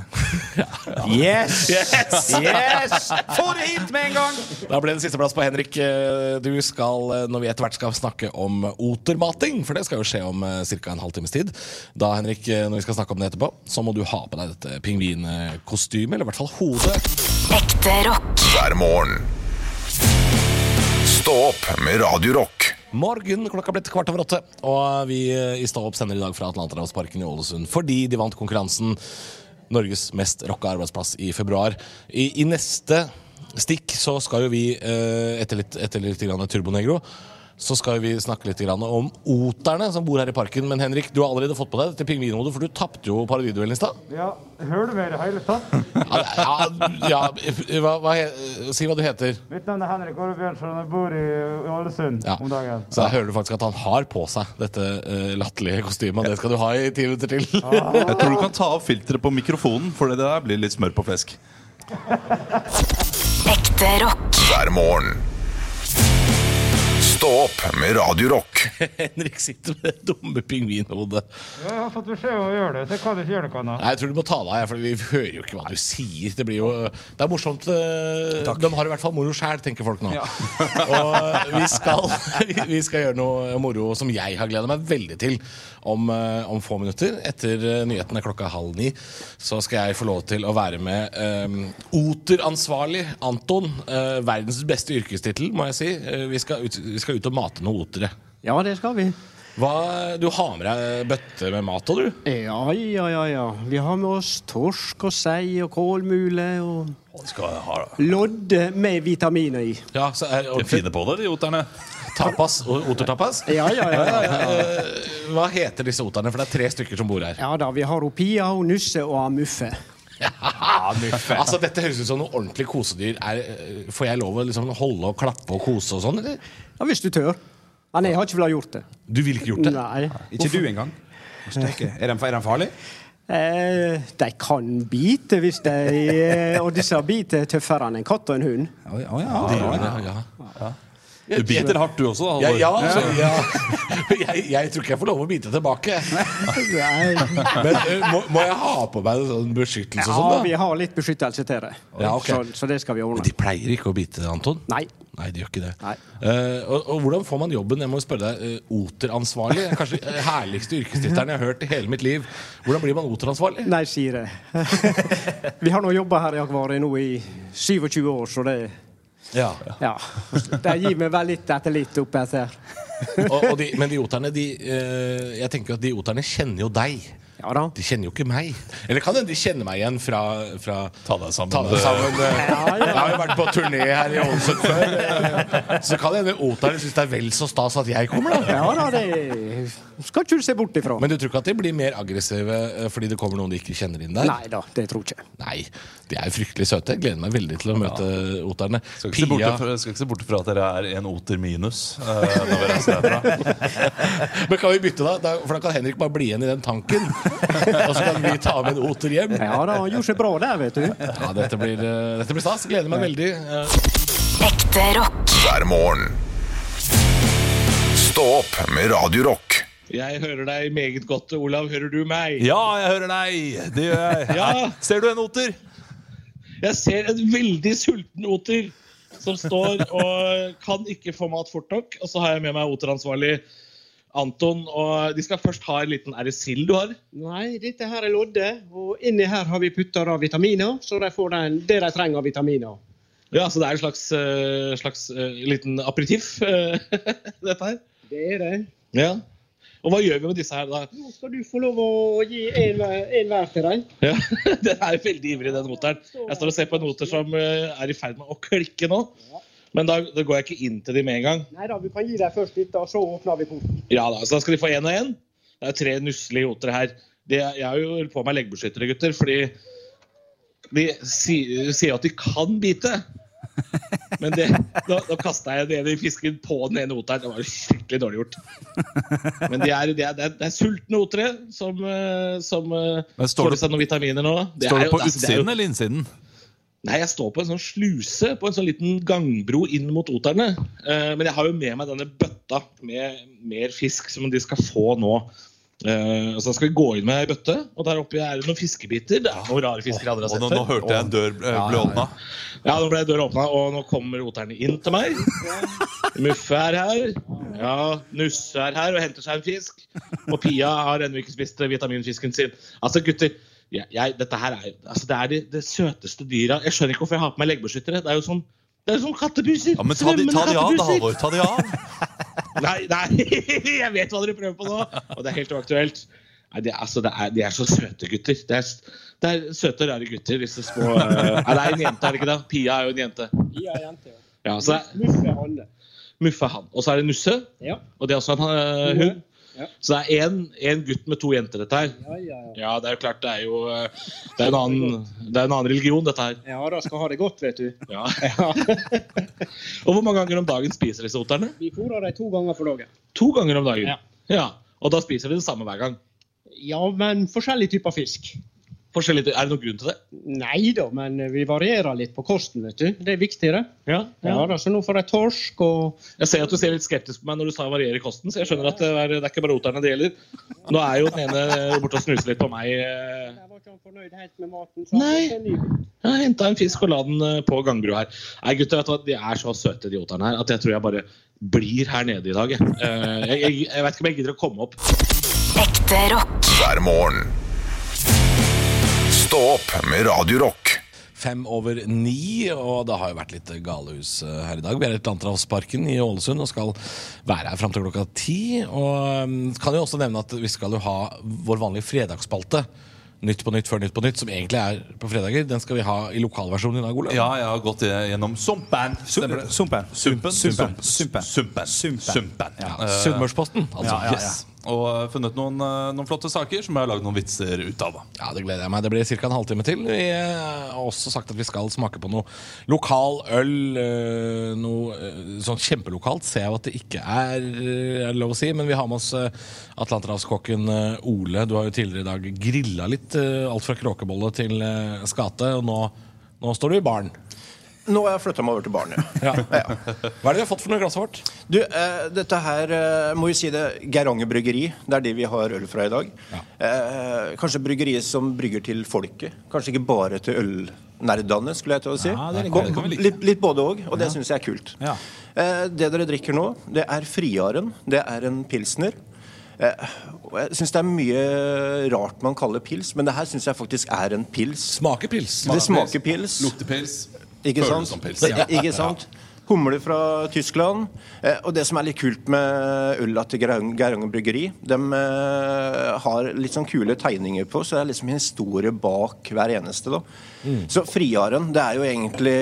Speaker 13: Yes!
Speaker 3: Yes!
Speaker 13: Yes! Få det hit med en gang!
Speaker 3: Da ble det sisteplass på Henrik. Eh, Du skal, eh, når vi etter hvert skal snakke om otermating, for det skal jo skje om ca. en halvtimes tid Da, Henrik, eh, når vi skal snakke om det etterpå, så må du ha på deg dette pingvinkostymet, eller i hvert fall hodet.
Speaker 4: Ekte rock.
Speaker 5: hver morgen. Stå opp med Radio Rock.
Speaker 3: Morgen, klokka blitt kvart over åtte. Og vi eh, i Stå opp sender i dag fra Atlanterhavsparken i Ålesund fordi de vant konkurransen Norges mest rocka arbeidsplass i februar. I, i neste stikk så skal jo vi, eh, etter litt, etter litt grann turbonegro, så skal vi snakke litt grann om oterne som bor her i parken. Men Henrik, du har allerede fått på deg dette pingvinhodet, for du tapte jo parodiduellen i stad.
Speaker 14: Ja, hører du meg i det hele tatt?
Speaker 3: Ja, ja, ja, hva, hva, he- si hva du heter.
Speaker 14: Mitt navn er Henrik Åre Bjørnson, og jeg bor i i Ålesund
Speaker 3: Ja.
Speaker 14: om dagen.
Speaker 3: Så da hører du faktisk at han har på seg dette eh, latterlige kostymet. og Det skal du ha i ti minutter til.
Speaker 11: Jeg tror du kan ta av filteret på mikrofonen, for det der blir litt smør på flesk.
Speaker 4: Ekte rock.
Speaker 5: hver morgen. Stå opp med Radio Rock.
Speaker 3: Henrik sitter med det dumme pingvinhodet.
Speaker 14: Ja, jeg har fått beskjed om å gjøre det, så jeg kan ikke gjøre noe annet.
Speaker 3: Nei, Jeg tror du må ta deg av, for vi hører jo ikke hva du sier. Det blir jo Det er morsomt. eh, De har i hvert fall moro sjæl, tenker folk nå. Og vi skal, vi skal gjøre noe moro som jeg har gleda meg veldig til om, eh, om få minutter. Etter eh, nyhetene klokka halv ni så skal jeg få lov til å være med eh, oteransvarlig Anton. Eh, verdens beste yrkestittel, må jeg si. Eh, vi, skal ut, vi skal ut og mate noen otere.
Speaker 15: Ja, det skal vi.
Speaker 3: Hva, du har med deg bøtte med mat òg, du?
Speaker 15: Ja, ja, ja, ja. Vi har med oss torsk og sei og kålmule og lodde med vitaminer i.
Speaker 3: Ja, så er,
Speaker 11: De er fine på det, de oterne.
Speaker 3: Tapas, o- Otertapas?
Speaker 15: Ja, ja, ja, ja, ja.
Speaker 3: Eh, Hva heter disse oterne? For det er tre stykker som bor her.
Speaker 15: Ja da, vi har opia og nusse og amuffe.
Speaker 3: altså, Dette høres ut som noe ordentlig kosedyr. Er, eh, får jeg lov å liksom holde og klappe og kose og sånn, eller?
Speaker 15: Ja, hvis du tør. Men jeg har ikke villet gjort det.
Speaker 3: Du ville ikke gjort det?
Speaker 15: Nei.
Speaker 13: Ikke du engang. Steike. Er den, er den farlig?
Speaker 15: Eh, de kan bite hvis de eh, Og disse biter er tøffere enn en katt og en hund.
Speaker 3: Det gjør det, ja.
Speaker 11: Du biter hardt, du også, da.
Speaker 3: Ja,
Speaker 11: Halvor.
Speaker 3: ja, altså, ja. Jeg, jeg tror ikke jeg får lov å bite tilbake. Men eh, må, må jeg ha på meg en sånn beskyttelse og
Speaker 15: Ja,
Speaker 3: sånn, da?
Speaker 15: vi har litt beskyttelse til det.
Speaker 3: Ja, ok.
Speaker 15: så, så det skal vi ordne.
Speaker 3: De pleier ikke å bite, Anton?
Speaker 15: Nei.
Speaker 3: Nei, de gjør ikke det. Eh, og, og hvordan får man jobben? Jeg må jo spørre deg, eh, Oteransvarlig? Det er Kanskje den herligste yrkestittelen jeg har hørt i hele mitt liv. Hvordan blir man oteransvarlig?
Speaker 15: Nei, sier det. vi har nå jobba her i akvariet nå i 27 år, så det
Speaker 3: Ja.
Speaker 15: Ja. De gir meg vel litt etter litt opp etter.
Speaker 3: Og, og de, men de oterne, de, eh, jeg tenker jo at de oterne kjenner jo deg. De kjenner jo ikke meg. Eller kan hende de kjenner meg igjen fra, fra Ta deg sammen. eh. Jeg har jo vært på turné her i Ålesund før. eh, Så kan hende oterne synes det er vel så stas at jeg kommer, da.
Speaker 15: Ja da, det skal ikke du se bort ifra.
Speaker 3: Men du tror ikke at de blir mer aggressive eh, fordi det kommer noen de ikke kjenner inn der?
Speaker 15: Nei da, det tror jeg ikke.
Speaker 3: Nei, De er jo fryktelig søte. Jeg gleder meg veldig til å møte oterne.
Speaker 11: Skal ikke, se bort fra, skal ikke se bort fra at dere er en oter minus. eh, når vi reiser herfra.
Speaker 3: Men kan vi bytte, da? da? For da kan Henrik bare bli igjen i den tanken. Og så kan vi ta med en oter hjem.
Speaker 15: Ja da, han gjorde seg bra der, vet du.
Speaker 3: Ja, dette blir, eh, dette blir stas. Gleder meg veldig. Eh,
Speaker 4: Ekte rock.
Speaker 5: hver morgen. Stå opp med Radio Rock.
Speaker 10: Jeg hører deg meget godt, Olav. Hører du meg?
Speaker 2: Ja, jeg hører deg! Det gjør jeg.
Speaker 10: Ja.
Speaker 2: Ser du en oter?
Speaker 10: Jeg ser en veldig sulten oter som står og kan ikke få mat fort nok. Og så har jeg med meg oteransvarlig Anton. Og de skal først ha en liten Er det sild du har?
Speaker 16: Nei, dette her er lodde, og inni her har vi putta av vitaminer, så de får den, det de trenger av vitaminer.
Speaker 10: Ja, så det er en slags, eh, slags eh, liten aperitiff, eh, dette her.
Speaker 16: Det er det.
Speaker 10: Ja. Og hva gjør vi med disse her, da?
Speaker 16: Nå skal du få lov å gi en hver- en hver til deg.
Speaker 10: Ja, Den er veldig ivrig, den noteren. Jeg står og ser på en noter som eh, er i ferd med å klikke nå. Men da, da går jeg ikke inn til dem med en gang.
Speaker 16: Nei da, vi kan gi deg først litt, da, så åpner vi porten.
Speaker 10: Ja da, så da skal de få én og én. Det er tre nusselige jotere her. De, jeg har jo på meg leggbeskyttere, gutter, fordi de si, sier at de kan bite. Men det, da, da kasta jeg den ene fisken på den ene oteren. Det var jo skikkelig dårlig gjort. Men de er, de er, det er, det er sultne otere som, eh, som eh,
Speaker 2: Men står
Speaker 10: får
Speaker 2: du-
Speaker 10: i seg noen vitaminer nå. Det
Speaker 2: Står du
Speaker 10: er jo-
Speaker 2: på
Speaker 10: altså, det er jo-
Speaker 2: utsiden eller innsiden?
Speaker 10: Nei, jeg står på en sånn sluse, på en sånn liten gangbro inn mot oterne. Eh, men jeg har jo med meg denne bøtta med mer fisk som de skal få nå. Eh, så da skal vi gå inn med ei bøtte, og der oppe er det noen fiskebiter. Det er noen rare fisker jeg aldri har
Speaker 2: Og
Speaker 10: sett
Speaker 2: nå, nå hørte jeg en dør eh, ble, ble åpna.
Speaker 10: Ja, nå ble døra åpna, og nå kommer oterne inn til meg. Muffe er her. Ja, Nusse er her og henter seg en fisk. Og Pia har ennå ikke spist vitaminfisken sin. Altså, gutter, jeg, jeg, dette her er, altså, det er de, det søteste dyra. Jeg skjønner ikke hvorfor jeg har på meg leggbeskyttere. Det er jo sånn, det er jo sånn kattepuser.
Speaker 2: Ja, men ta de,
Speaker 10: Svømmende
Speaker 2: ta de av, da,
Speaker 10: kattepuser.
Speaker 2: Halvor. Ta de av.
Speaker 10: Nei, nei, jeg vet hva dere prøver på nå, og det er helt uaktuelt. Nei, det, er- altså, det er, de er så søte gutter. Det er, det er søte, rare gutter, disse små eh, Nei, det er en jente, er det ikke det? Pia er jo en jente.
Speaker 16: Gi ei jente. ja.
Speaker 10: Ja, så det er
Speaker 16: Muffe Hanne.
Speaker 10: Muffe han. Og så er det Nusse,
Speaker 16: Ja.
Speaker 10: og det er også en eh, hund.
Speaker 16: Ja.
Speaker 10: Så det er én gutt med to jenter, dette her.
Speaker 16: Ja, ja, ja.
Speaker 10: Ja, det er jo klart, det er jo eh, Det er en annen, det er en annen religion, dette her.
Speaker 16: Ja, da skal ha det godt, vet du.
Speaker 10: Ja. og hvor mange ganger om dagen spiser disse oterne?
Speaker 16: Vi fôrer dem to ganger for dagen.
Speaker 10: To ganger om dagen.
Speaker 16: Ja.
Speaker 10: ja. Og da spiser de det samme hver gang?
Speaker 16: Ja, men forskjellige typer fisk.
Speaker 10: Forskjellig, er det noen grunn til det?
Speaker 16: Nei da, men vi varierer litt på kosten, vet du. Det er viktig, det.
Speaker 10: Ja,
Speaker 16: Ja, da, så nå får jeg torsk og
Speaker 10: Jeg ser at du ser litt skeptisk på meg når du sa variere kosten, så jeg skjønner at det er, det er ikke bare oterne det gjelder. Nå er jo den ene borte og snuser litt på meg. eh.
Speaker 16: Nei.
Speaker 10: Jeg har henta en fisk og la den eh, på gangbro her. Nei, gutter, vet du hva? De er så søte, de oterne her, at jeg tror jeg bare blir her nede i dag. Jeg, Eh, jeg, jeg, jeg vet ikke om jeg gidder å komme opp.
Speaker 4: Ekte rock.
Speaker 5: Hver morgen. Stå opp med Radio Rock.
Speaker 6: Fem over ni, og det har jo vært litt galehus eh, her i dag. Vi er i Atlanterhavsparken i Ålesund og skal være her fram til klokka ti. Og mm, kan jo også nevne at vi skal jo ha vår vanlige fredagsspalte. Nytt på nytt før Nytt på nytt, som egentlig er på fredager. Den skal vi ha i lokalversjonen i dag, Olav.
Speaker 2: Ja, jeg har gått gjennom Sumpen. Stemmer det?
Speaker 8: Sumpen.
Speaker 2: Sumpen.
Speaker 8: Sumpen.
Speaker 2: Sumpen. Sumpen. Sumpen.
Speaker 8: Ja.
Speaker 2: Eh,
Speaker 6: Sunnmørsposten, altså.
Speaker 2: Ja, ja, ja.
Speaker 6: Yes.
Speaker 2: Og eh, funnet noen, eh, noen flotte saker som jeg har lagd noen vitser ut av. da.
Speaker 6: Ja, Det gleder jeg meg. Det blir ca. en halvtime til. Vi eh, har også sagt at vi skal smake på noe lokal øl. eh, Noe eh, sånn kjempelokalt ser jeg jo at det ikke er, eh, er det lov å si. Men vi har med oss eh, atlanterhavskokken eh, Ole. Du har jo tidligere i dag grilla litt. eh, Alt fra kråkebolle til eh, skate. Og nå, nå står du i baren.
Speaker 3: Nå har jeg flytta meg over til barn, ja.
Speaker 6: Ja. Hva er det vi har fått for noe i glasset vårt?
Speaker 3: Du, eh, dette her eh, må jo si det. Geiranger bryggeri. Det er de vi har øl fra i dag. Eh, kanskje bryggeriet som brygger til folket. Kanskje ikke bare til ølnerdene, skulle jeg til å si.
Speaker 17: Ja, det er- det kan vi like.
Speaker 3: litt, litt både òg, og det syns jeg er kult.
Speaker 17: Ja.
Speaker 3: Eh, det dere drikker nå, det er Friaren. Det er en pilsner. Eh, og jeg syns det er mye rart man kaller pils, men det her syns jeg faktisk er en pils.
Speaker 6: Smaker pils.
Speaker 3: Det smaker pils.
Speaker 2: Lukter pils.
Speaker 3: Ikke
Speaker 2: Føles
Speaker 3: sant?
Speaker 2: som pils.
Speaker 3: Det- Ikke sant? Humle fra Tyskland. Eh, og det som er litt kult med øla til Geiranger Geiranger bryggeri, de eh, har litt sånn kule tegninger på, så det er liksom historie bak hver eneste. da. Så Friaren, det er jo egentlig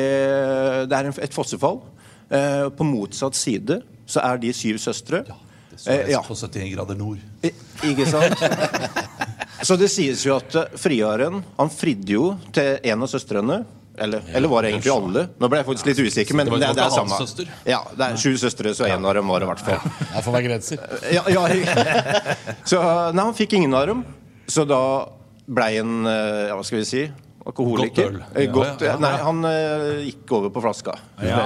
Speaker 3: Det er en, et fossefall. Eh, på motsatt side så er de syv søstre.
Speaker 2: Så jeg
Speaker 3: Eh, ja. Eh,
Speaker 2: på 71 grader nord.
Speaker 3: I- Ikke sant? Så det sies jo at eh, friaren han fridde jo til en av søstrene. Eller, eller var det egentlig alle? Nå ble jeg faktisk litt usikker. Men
Speaker 6: Det var
Speaker 3: det, det, er
Speaker 6: ikke hans
Speaker 3: samme.
Speaker 6: søster.
Speaker 3: Ja, det er sju søstre, så en av dem var det i hvert fall.
Speaker 6: Det får være grenser.
Speaker 3: Ja, ja. Så nei, han fikk ingen av dem. Så da blei han eh, ja, Hva skal vi si? Godt
Speaker 10: Alkoholiker.
Speaker 3: øl.
Speaker 10: Eh, Godt,
Speaker 3: Ja, ja, ja.
Speaker 10: Nei, han eh, gikk over på flaska.
Speaker 3: Ja.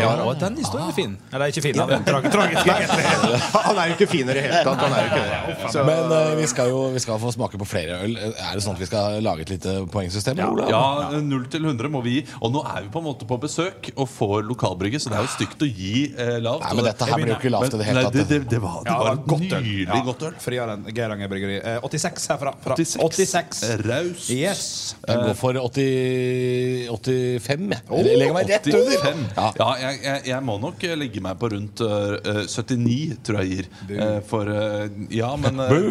Speaker 3: Ja,
Speaker 10: og den historien er fin. Eller ikke fin,
Speaker 3: han er tra- tragisk, egentlig.
Speaker 10: Han er jo ikke fin i det hele tatt. Han er jo ikke det. Så-
Speaker 3: Men eh, vi skal jo vi skal få smake på flere øl. Er det sånn at vi skal lage et lite poengsystem? Olav?
Speaker 2: Ja, 0 til 100 må vi gi. Og nå er vi på en måte på besøk og får lokalbrygge, så det er jo stygt å gi eh, lavt.
Speaker 3: Nei, men dette her blir jo ikke lavt i det hele
Speaker 2: Men-
Speaker 3: tatt.
Speaker 2: Nei, det, det, det var, det
Speaker 3: Ja,
Speaker 2: var
Speaker 3: det var godt øl.
Speaker 2: nydelig
Speaker 3: Ja.
Speaker 2: godt øl.
Speaker 18: Friaren, Geiranger bryggeri. Eh, 86 herfra. Fra.
Speaker 2: 86.
Speaker 18: 86.
Speaker 2: Eh, Raust.
Speaker 18: Yes.
Speaker 3: Jeg går for 80, 85, jeg. Eller legger meg rett under.
Speaker 2: 85. Ja, jeg, jeg, jeg må nok eh, legge meg på rundt eh, 79, tror jeg gir. Eh, for eh, Ja, men eh,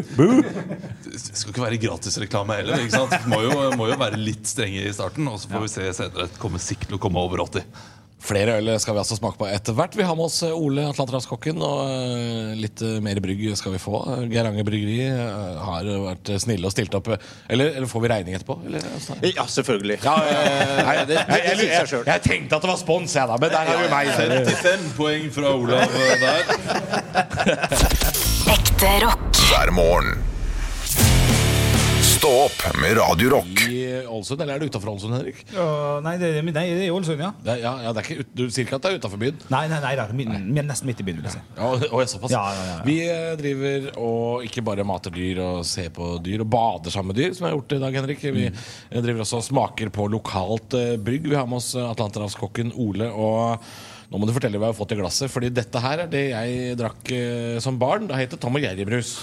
Speaker 2: Det skal ikke være gratisreklame heller. Ikke sant? Må jo, må jo være litt strenge i starten, og så får vi se senere. Kommer sikkert til å komme over 80.
Speaker 3: Flere øl skal vi altså smake på etter hvert. Vi har med oss eh, Ole Atlanterhavskokken, og eh, litt eh, mer brygg skal vi få. Geiranger Bryggeri eh, har vært snille og stilt opp. eh, Eller, eller får vi regning etterpå? Eller?
Speaker 10: Ja, selvfølgelig.
Speaker 3: Nei,
Speaker 10: Nei, det, det, det sier seg sjøl.
Speaker 3: jeg tenkte at det var spons, jeg, da, men der er jo meg.
Speaker 2: 55 poeng fra Olav eh, der.
Speaker 4: Ekte rock.
Speaker 5: hver morgen. Stå opp med Radio Rock.
Speaker 3: I Ålesund, eller er det utafor Ålesund, Henrik?
Speaker 7: Ja, nei, det, nei, det er i Ålesund, ja.
Speaker 3: Det, er- ja, ja, det er ikke ut, du sier ikke at det er utafor byen?
Speaker 7: Nei, nei, nei, da. Mi- mi- nesten midt i byen. vil jeg si.
Speaker 3: Ja, og, og jeg såpass.
Speaker 7: Ja, ja, ja, ja.
Speaker 3: Vi eh, driver og ikke bare mater dyr og ser på dyr og bader sammen med dyr, som jeg har gjort i dag, Henrik. Vi eh, driver også og smaker på lokalt eh, brygg. Vi har med oss eh, atlanterhavskokken Ole. og nå må du fortelle hva jeg har fått i glasset, Fordi dette her er det jeg drakk eh, som barn. Det heter Tom og Jerry-brus.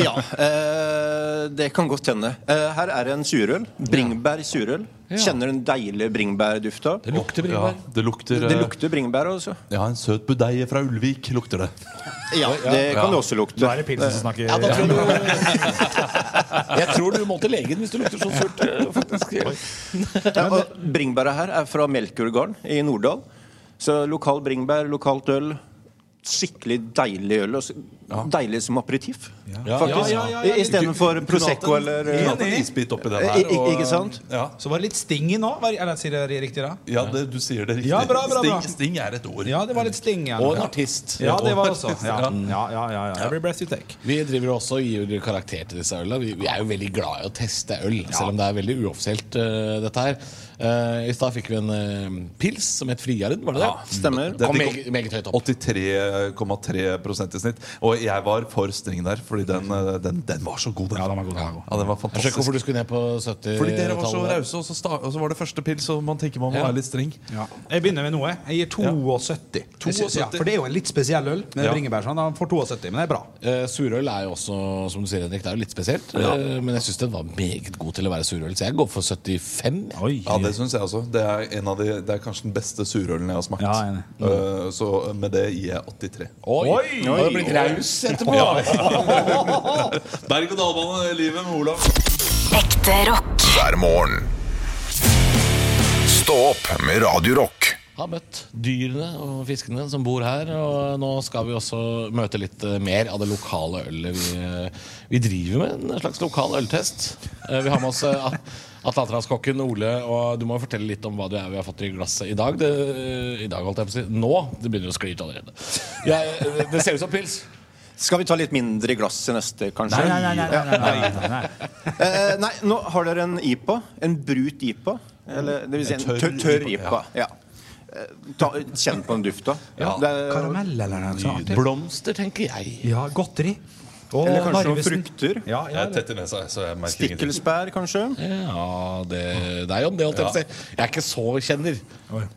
Speaker 10: Ja, eh, det kan godt hende. Eh, her er en surøl. Bringebær surøl. Kjenner den deilige bringebærdufta? Det
Speaker 3: lukter
Speaker 2: bringebær. Ja, det lukter,
Speaker 10: det,
Speaker 2: eh,
Speaker 10: lukter bringebær også.
Speaker 2: Ja, en søt budeie fra Ulvik lukter det.
Speaker 10: Ja, det kan det også lukte.
Speaker 7: Da er det pilsen som snakker.
Speaker 10: Ja, da tror
Speaker 3: jeg Jeg tror du må til legen hvis du lukter så surt. eh, faktisk
Speaker 10: Ja, og bringebæret her er fra Melkjordgarden i Norddal. Så lokal bringebær, lokalt øl. Skikkelig deilig øl. Og s- deilig som aperitiff,
Speaker 2: Ja,
Speaker 10: faktisk.
Speaker 2: ja, ja, ja.
Speaker 10: I- Istedenfor
Speaker 2: Kunne
Speaker 10: Prosecco
Speaker 2: hatt en-
Speaker 10: eller eh,
Speaker 2: kunne hatt en eh, isbit oppi den her,
Speaker 10: I- i-
Speaker 2: og-
Speaker 10: Ikke sant?
Speaker 2: Ja.
Speaker 7: Så var det litt sting i nå. var- Eller sier jeg det riktig da?
Speaker 2: Ja, det, du sier det riktig.
Speaker 7: Ja, bra, bra, bra.
Speaker 2: Sting, sting er et ord.
Speaker 7: Ja, det var litt sting. ja.
Speaker 3: Og en artist.
Speaker 7: Ja, det var også.
Speaker 3: Og en
Speaker 7: Ja, ja,
Speaker 3: artist, ja.
Speaker 7: ja. ja, ja. Every breath you take.
Speaker 3: Vi driver jo også og gir karakter til disse ølene. Vi, vi er jo veldig glad i å teste øl, selv om det er veldig uoffisielt, øh, dette her. Eh, I stad fikk vi en øh, pils som het Friaren, var det det?
Speaker 2: Dette
Speaker 3: Kom
Speaker 2: gikk
Speaker 3: meget, meget høyt opp.
Speaker 2: opp 83,3 i snitt. Og jeg var for streng der, fordi den, eh, den, den var så god, den. Ja, den var,
Speaker 3: Jeg skjønner ikke
Speaker 2: fantastisk. Eh,
Speaker 3: hvorfor du skulle ned på 70-tallet.
Speaker 2: Fordi dere var så rause, og så, sta og så var det første pils, og man tenker man må
Speaker 7: Ja.
Speaker 2: være litt streng.
Speaker 7: Ja. Jeg begynner med noe. Jeg gir 72. Jeg synes- Ja, for det er jo en litt spesiell øl med
Speaker 3: Ja.
Speaker 7: bringebær. Sånn. Han får 72, men det er bra.
Speaker 3: Eh, surøl er jo også, som du sier, Henrik, det er jo litt spesielt.
Speaker 2: Ja.
Speaker 3: eh, men jeg syns den var meget god til å være surøl, så jeg går for 75.
Speaker 2: Ja, det syns jeg også. Det er, en av de, det er kanskje den beste surølen jeg har smakt.
Speaker 3: Ja, enig.
Speaker 2: Eh, så med det gir jeg 83.
Speaker 3: Oi! Oi! Har du blitt raus etterpå?
Speaker 2: Berg-og-dal-bane-livet med Olav.
Speaker 4: Ekte rock.
Speaker 5: hver morgen. Stå opp med Radio Rock.
Speaker 3: Har møtt dyrene og fiskene som bor her. Og nå skal vi også møte litt eh, mer av det lokale ølet vi, eh, vi driver med. En slags lokal øltest. Eh, Vi har med oss eh, At- atlanterhavskokken Ole, og du må fortelle litt om hva det er vi har fått i glasset i dag. Det, eh, I dag, holdt jeg på å si. Nå. Det begynner å skli ut allerede. Jeg, eh, det ser ut som pils.
Speaker 10: Skal vi ta litt mindre i glass til neste, kanskje?
Speaker 7: Nei, nei, nei, nei, nei, nei, nei, nei, nei.
Speaker 10: Eh, nei, nå har dere en IPA. En brut IPA. Eller det vil si en tørr, tørr IPA. Ja. Eh, Ta, kjenn på den dufta.
Speaker 7: Ja.
Speaker 10: Det er-
Speaker 7: Karamell eller noe sånt.
Speaker 3: Blomster, tenker jeg.
Speaker 7: sånn- Ja, godteri. Og
Speaker 10: Eller kanskje noen
Speaker 7: Narvesen.
Speaker 10: frukter.
Speaker 7: Ja, ja,
Speaker 2: Jeg tetter nesa, så jeg merker ingenting.
Speaker 10: Stikkelsbær, kanskje?
Speaker 3: Ja, det, det er jo om det. holdt Jeg på å si. Jeg er ikke så kjenner.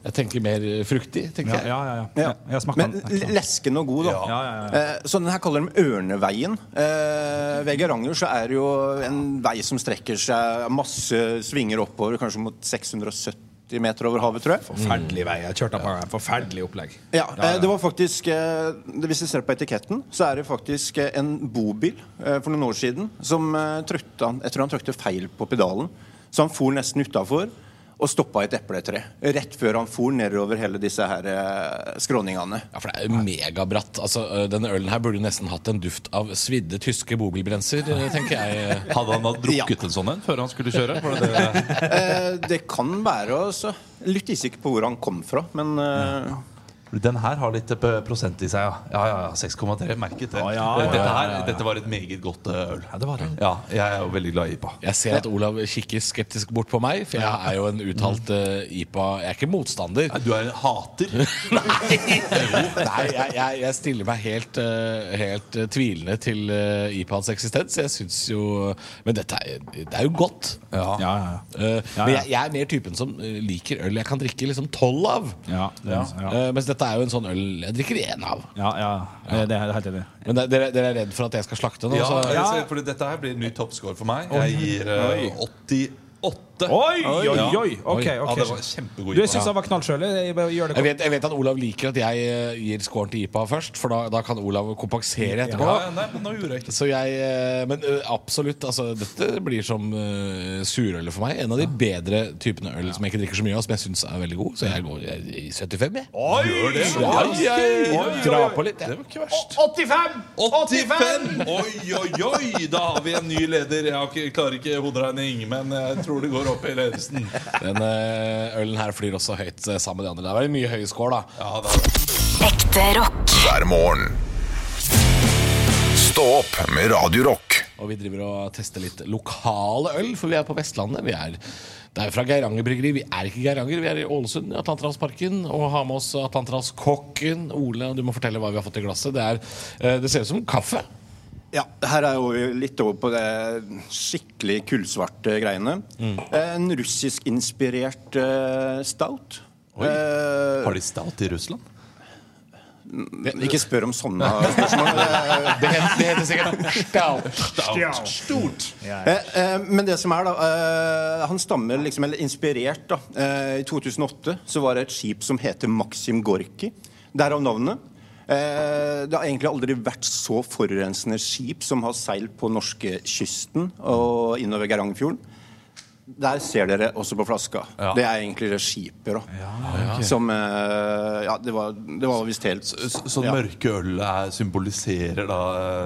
Speaker 3: Jeg tenker mer eh, fruktig. tenker jeg
Speaker 10: Ja. Men l- leskende og god, da.
Speaker 3: Ja. Ja, ja, ja,
Speaker 10: Eh, Så den her kaller de Ørneveien. Eh, ved Geiranger så er det jo en vei som strekker seg masse svinger oppover, kanskje mot 670 meter over havet, tror jeg.
Speaker 7: Forferdelig vei. Jeg kjørte på en forferdelig opplegg.
Speaker 10: Ja, eh, det var faktisk eh, det- Hvis du ser på etiketten, så er det faktisk eh, en bobil eh, for noen år siden som eh, trøkte han, Jeg tror han trykte feil på pedalen, så han for nesten utafor og stoppa i et epletre. Rett før han for nedover hele disse her eh, skråningene.
Speaker 3: Ja, for det er jo megabratt. Altså, ø, Denne ølen her burde jo nesten hatt en duft av svidde tyske bobilbrenser, ø, tenker jeg.
Speaker 2: Hadde han da drukket en sånn en før han skulle kjøre? Var det det?
Speaker 10: Eh, det kan være også Litt usikker på hvor han kom fra, men eh,
Speaker 2: Den her har litt eh, prosent i seg, ja. Ja, ja, ja 6,3. Merket det.
Speaker 3: ja, ja,
Speaker 2: dette, her,
Speaker 3: ja, ja.
Speaker 2: dette var et meget godt eh, øl. Ja, det var det. Ja, jeg er jo veldig glad i IPA.
Speaker 3: Jeg ser at Olav kikker skeptisk bort på meg, for jeg er jo en uttalt eh, IPA Jeg er ikke motstander.
Speaker 2: du er en hater?
Speaker 3: Nei, Nei jeg, jeg, jeg stiller meg helt, eh, helt eh, tvilende til eh, IPAs eksistens. Jeg syns jo Men dette er, det er jo godt. Eh,
Speaker 7: Ja,
Speaker 3: Men
Speaker 7: ja.
Speaker 3: jeg, jeg er mer typen som eh, liker øl jeg kan drikke liksom tolv av.
Speaker 7: Ja, det, ja. Ja.
Speaker 3: Eh, Mens dette er jo en sånn øl jeg drikker én av.
Speaker 7: Ja, ja, Eh, det, det er helt enig.
Speaker 3: Men de- dere, dere er redd for at jeg skal slakte nå?
Speaker 2: Ja,
Speaker 3: så-
Speaker 2: jeg ser- Eh, fordi dette her blir en ny toppscore for meg.
Speaker 3: Oi.
Speaker 2: Jeg gir eh, 88.
Speaker 7: Oi, oi,
Speaker 2: Ja.
Speaker 7: oi! Ok,
Speaker 2: Ja,
Speaker 7: ok.
Speaker 2: det var kjempegod
Speaker 7: Du,
Speaker 2: IPA.
Speaker 7: jeg syns han var knallskjøl. Jeg bare gjør det
Speaker 3: Jeg vet, jeg vet at Olav liker at jeg eh, gir scoren til IPA først, for da, da kan Olav kompensere etterpå.
Speaker 2: Ja, ja, nei, men nå gjorde jeg ikke det.
Speaker 3: Så jeg, eh, Men eh, absolutt, altså, dette blir som eh, surølet for meg. En av de bedre typene øl som jeg ikke drikker så mye av, som jeg syns er veldig god. Så jeg går jeg, i 75, jeg.
Speaker 2: Oi! Gjør det, så
Speaker 3: Ja,
Speaker 2: bra.
Speaker 3: jeg,
Speaker 2: Oi, oi,
Speaker 3: drar
Speaker 2: oi.
Speaker 3: på litt, jeg.
Speaker 19: 85!
Speaker 2: 85! Oi, oi, oi! Da har vi en ny leder. Jeg har ikke, klarer ikke hoderegning, men jeg tror det går opp i ledelsen.
Speaker 3: Den eh, ølen her flyr også høyt eh, sammen med de andre. Det var mye høye score, da.
Speaker 2: Ja,
Speaker 4: Ekte rock.
Speaker 5: hver morgen. Stå opp med Radio Rock.
Speaker 3: Og vi driver og tester litt lokale øl, for vi er på Vestlandet. Vi er, det er jo fra Geiranger bryggeri. Vi er ikke i Geiranger, vi er i Ålesund, i Atlanterhavsparken. Og har med oss Atlanterhavskokken. Ole, du må fortelle hva vi har fått i glasset. Det, er, eh, det ser ut som kaffe.
Speaker 10: Ja, her er jo vi litt over på det skikkelig kullsvarte greiene. Eh, En russiskinspirert uh, stout.
Speaker 2: Oi.
Speaker 10: Eh,
Speaker 2: Har de stout i Russland?
Speaker 10: n- ikke spør om sånne spørsmål.
Speaker 3: Det heter, det heter sikkert stout.
Speaker 10: Stout. Eh, eh, Men det som er da eh, Han stammer liksom, eller inspirert da eh, I 2008 så var det et skip som heter Maxim Gorki Derav navnet eh, Det har egentlig aldri vært så forurensende skip Som har seilt på norske kysten Og innover Gerangfjorden der ser dere også på flaska Det er egentlig det skipet da
Speaker 2: ok.
Speaker 10: Som, eh, ja, det var, det var visst helt
Speaker 2: Så, så
Speaker 10: ja.
Speaker 2: mørke øl er- symboliserer da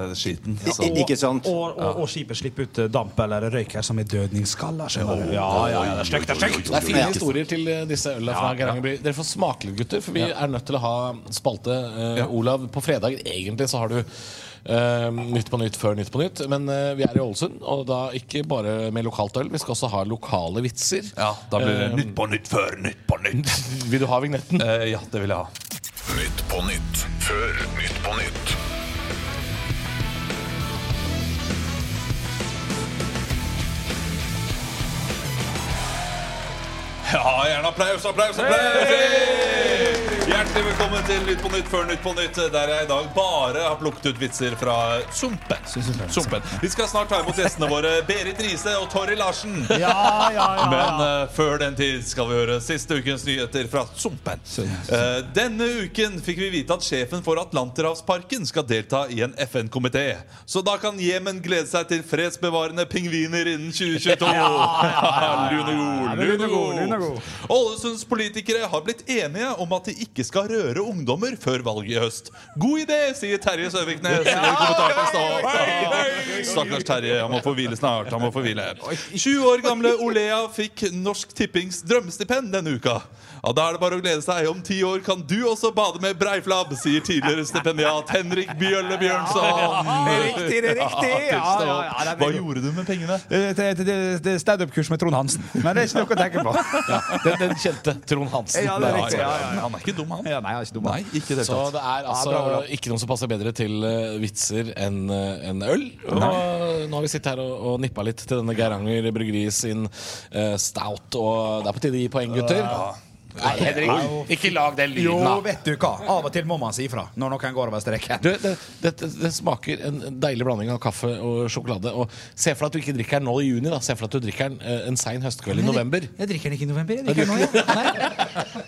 Speaker 2: eh, skiten? Så-
Speaker 10: I- ikke sant?
Speaker 7: Og, og, og skipet slipper ut eh, damp eller røyk her som i dødningsskaller. skjønner du.
Speaker 3: Oi,
Speaker 7: Ja, ja, ja, det er stygt, det er stygt.
Speaker 3: Det er fine historier til eh, disse ølene fra
Speaker 7: Ja, ja.
Speaker 3: Geiranger by. Dere får smake litt, gutter, for vi er nødt til å ha spalte. eh, Olav, på fredager egentlig så har du eh, Nytt på nytt før Nytt på nytt. Men eh, vi er i Ålesund, og da ikke bare med lokalt øl. Vi skal også ha lokale vitser.
Speaker 2: Ja, da blir det
Speaker 3: Eh,
Speaker 2: Nytt på nytt før Nytt på nytt. Eh,
Speaker 3: Vil du ha vignetten?
Speaker 2: ja, det vil jeg ha.
Speaker 5: Nytt på nytt før Nytt på nytt.
Speaker 2: Ja, gjerne applaus, applaus, applaus! Hjertelig velkommen til Nytt på nytt før Nytt på nytt, eh, der jeg i dag bare har plukket ut vitser fra Sumpen. Sumpen. Vi skal snart ta imot gjestene våre Berit Riise og Torry Larsen.
Speaker 19: Ja, ja, ja, ja.
Speaker 2: Men eh, før den tid skal vi høre siste ukens nyheter fra Sumpen. Eh, denne uken fikk vi vite at sjefen for Atlanterhavsparken skal delta i en FN-komité. Så da kan Jemen glede seg til fredsbevarende pingviner innen 2022.
Speaker 19: Ja, ja, ja, ja.
Speaker 2: Lune god,
Speaker 19: Ja,
Speaker 2: lune
Speaker 19: lune god, lune
Speaker 2: god. Ålesunds politikere har blitt enige om at de ikke skal røre ungdommer før valget i høst. God idé, sier Terje Søviknes. i en kommentar på Stad. Stakkars Terje, han må få hvile snart. Han må få hvile. 20 år gamle Olea fikk Norsk Tippings drømmestipend denne uka. Ja, Da er det bare å glede seg. Om ti år kan du også bade med breiflabb, sier tidligere stipendiat Henrik Bjølle Bjørnson.
Speaker 19: Ja, det er riktig, det er riktig.
Speaker 2: Ja,
Speaker 19: Ja,
Speaker 2: tips da.
Speaker 19: ja, ja, det er
Speaker 2: Hva gjorde du med pengene?
Speaker 7: Det, det, det, det er standup-kurs med Trond Hansen. Men det er ikke noe å tenke på.
Speaker 3: Den, den kjente Trond Hansen.
Speaker 7: Ja, det er riktig, ja, ja, ja.
Speaker 2: Han er ikke dum, han.
Speaker 7: Ja, nei, han er ikke dum, han.
Speaker 3: Så det er altså
Speaker 7: Ja, bra, bra.
Speaker 3: ikke noen som passer bedre til eh, vitser enn eh, enn øl. Og nå har vi sittet her og, og nippa litt til denne Geiranger Bryggeri sin eh, stout, og det er på tide å gi poeng, gutter.
Speaker 7: Ja.
Speaker 3: Nei, Henrik, ikke lag den
Speaker 7: Jo,
Speaker 3: lyden, da.
Speaker 7: vet du hva. Av og til må man si ifra når noen går over streken.
Speaker 3: Du, det, det, det smaker en deilig blanding av kaffe og sjokolade. Og Se for deg at du ikke drikker den nå i juni. da Se for deg at du drikker den eh, en sein høstkveld i november.
Speaker 7: Jeg drikker den ikke i november. Jeg drikker den nå, ja. Nei.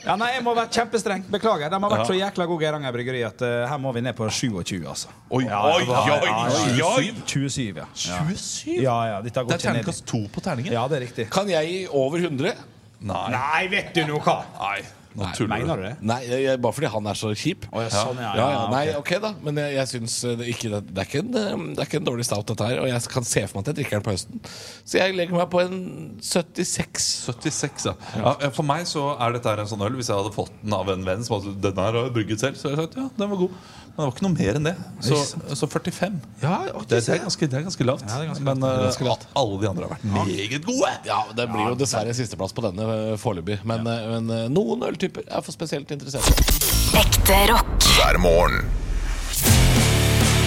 Speaker 7: ja, nei, jeg må være kjempestreng. Beklager. De har vært så jækla gode Geiranger bryggeri at eh, her må vi ned på 27, altså.
Speaker 2: Oi, oi, oi, oi.
Speaker 7: 27, ja. ja.
Speaker 2: 27?
Speaker 7: Ja, ja, dette har gått
Speaker 2: Det er terningkast to på terningen.
Speaker 7: Ja, det er riktig.
Speaker 3: Kan jeg gi over 100?
Speaker 2: Nei.
Speaker 7: vet du nå hva!
Speaker 2: Nei. Nå tuller du.
Speaker 3: Mener du det? Nei, jeg, jeg- bare fordi han er så kjip.
Speaker 2: ja, sånn, ja, ja, ok.
Speaker 3: Nei, ok da, men jeg, jeg syns eh, det, ikke, det, det, er ikke en, eh, det er ikke en dårlig stout, dette her. Og jeg kan se for meg at jeg drikker den på høsten. Så jeg legger meg på en 76.
Speaker 2: 76, ja. ja. For meg så er dette her en sånn øl Hvis jeg hadde fått den av en venn som hadde den her har jeg brygget selv, så hadde jeg sagt ja, den var god. Men det var ikke noe mer enn det. Så, så 45. det, det, er ganske, det er ganske lavt. Men
Speaker 3: Det er
Speaker 2: eh,
Speaker 3: ganske lavt.
Speaker 2: alle de andre har vært meget gode.
Speaker 3: Ja, Det blir jo dessverre sisteplass på denne eh, foreløpig. Men, eh, men eh, noen øltyper er for spesielt interesserte.
Speaker 4: Ekte rock.
Speaker 5: hver morgen.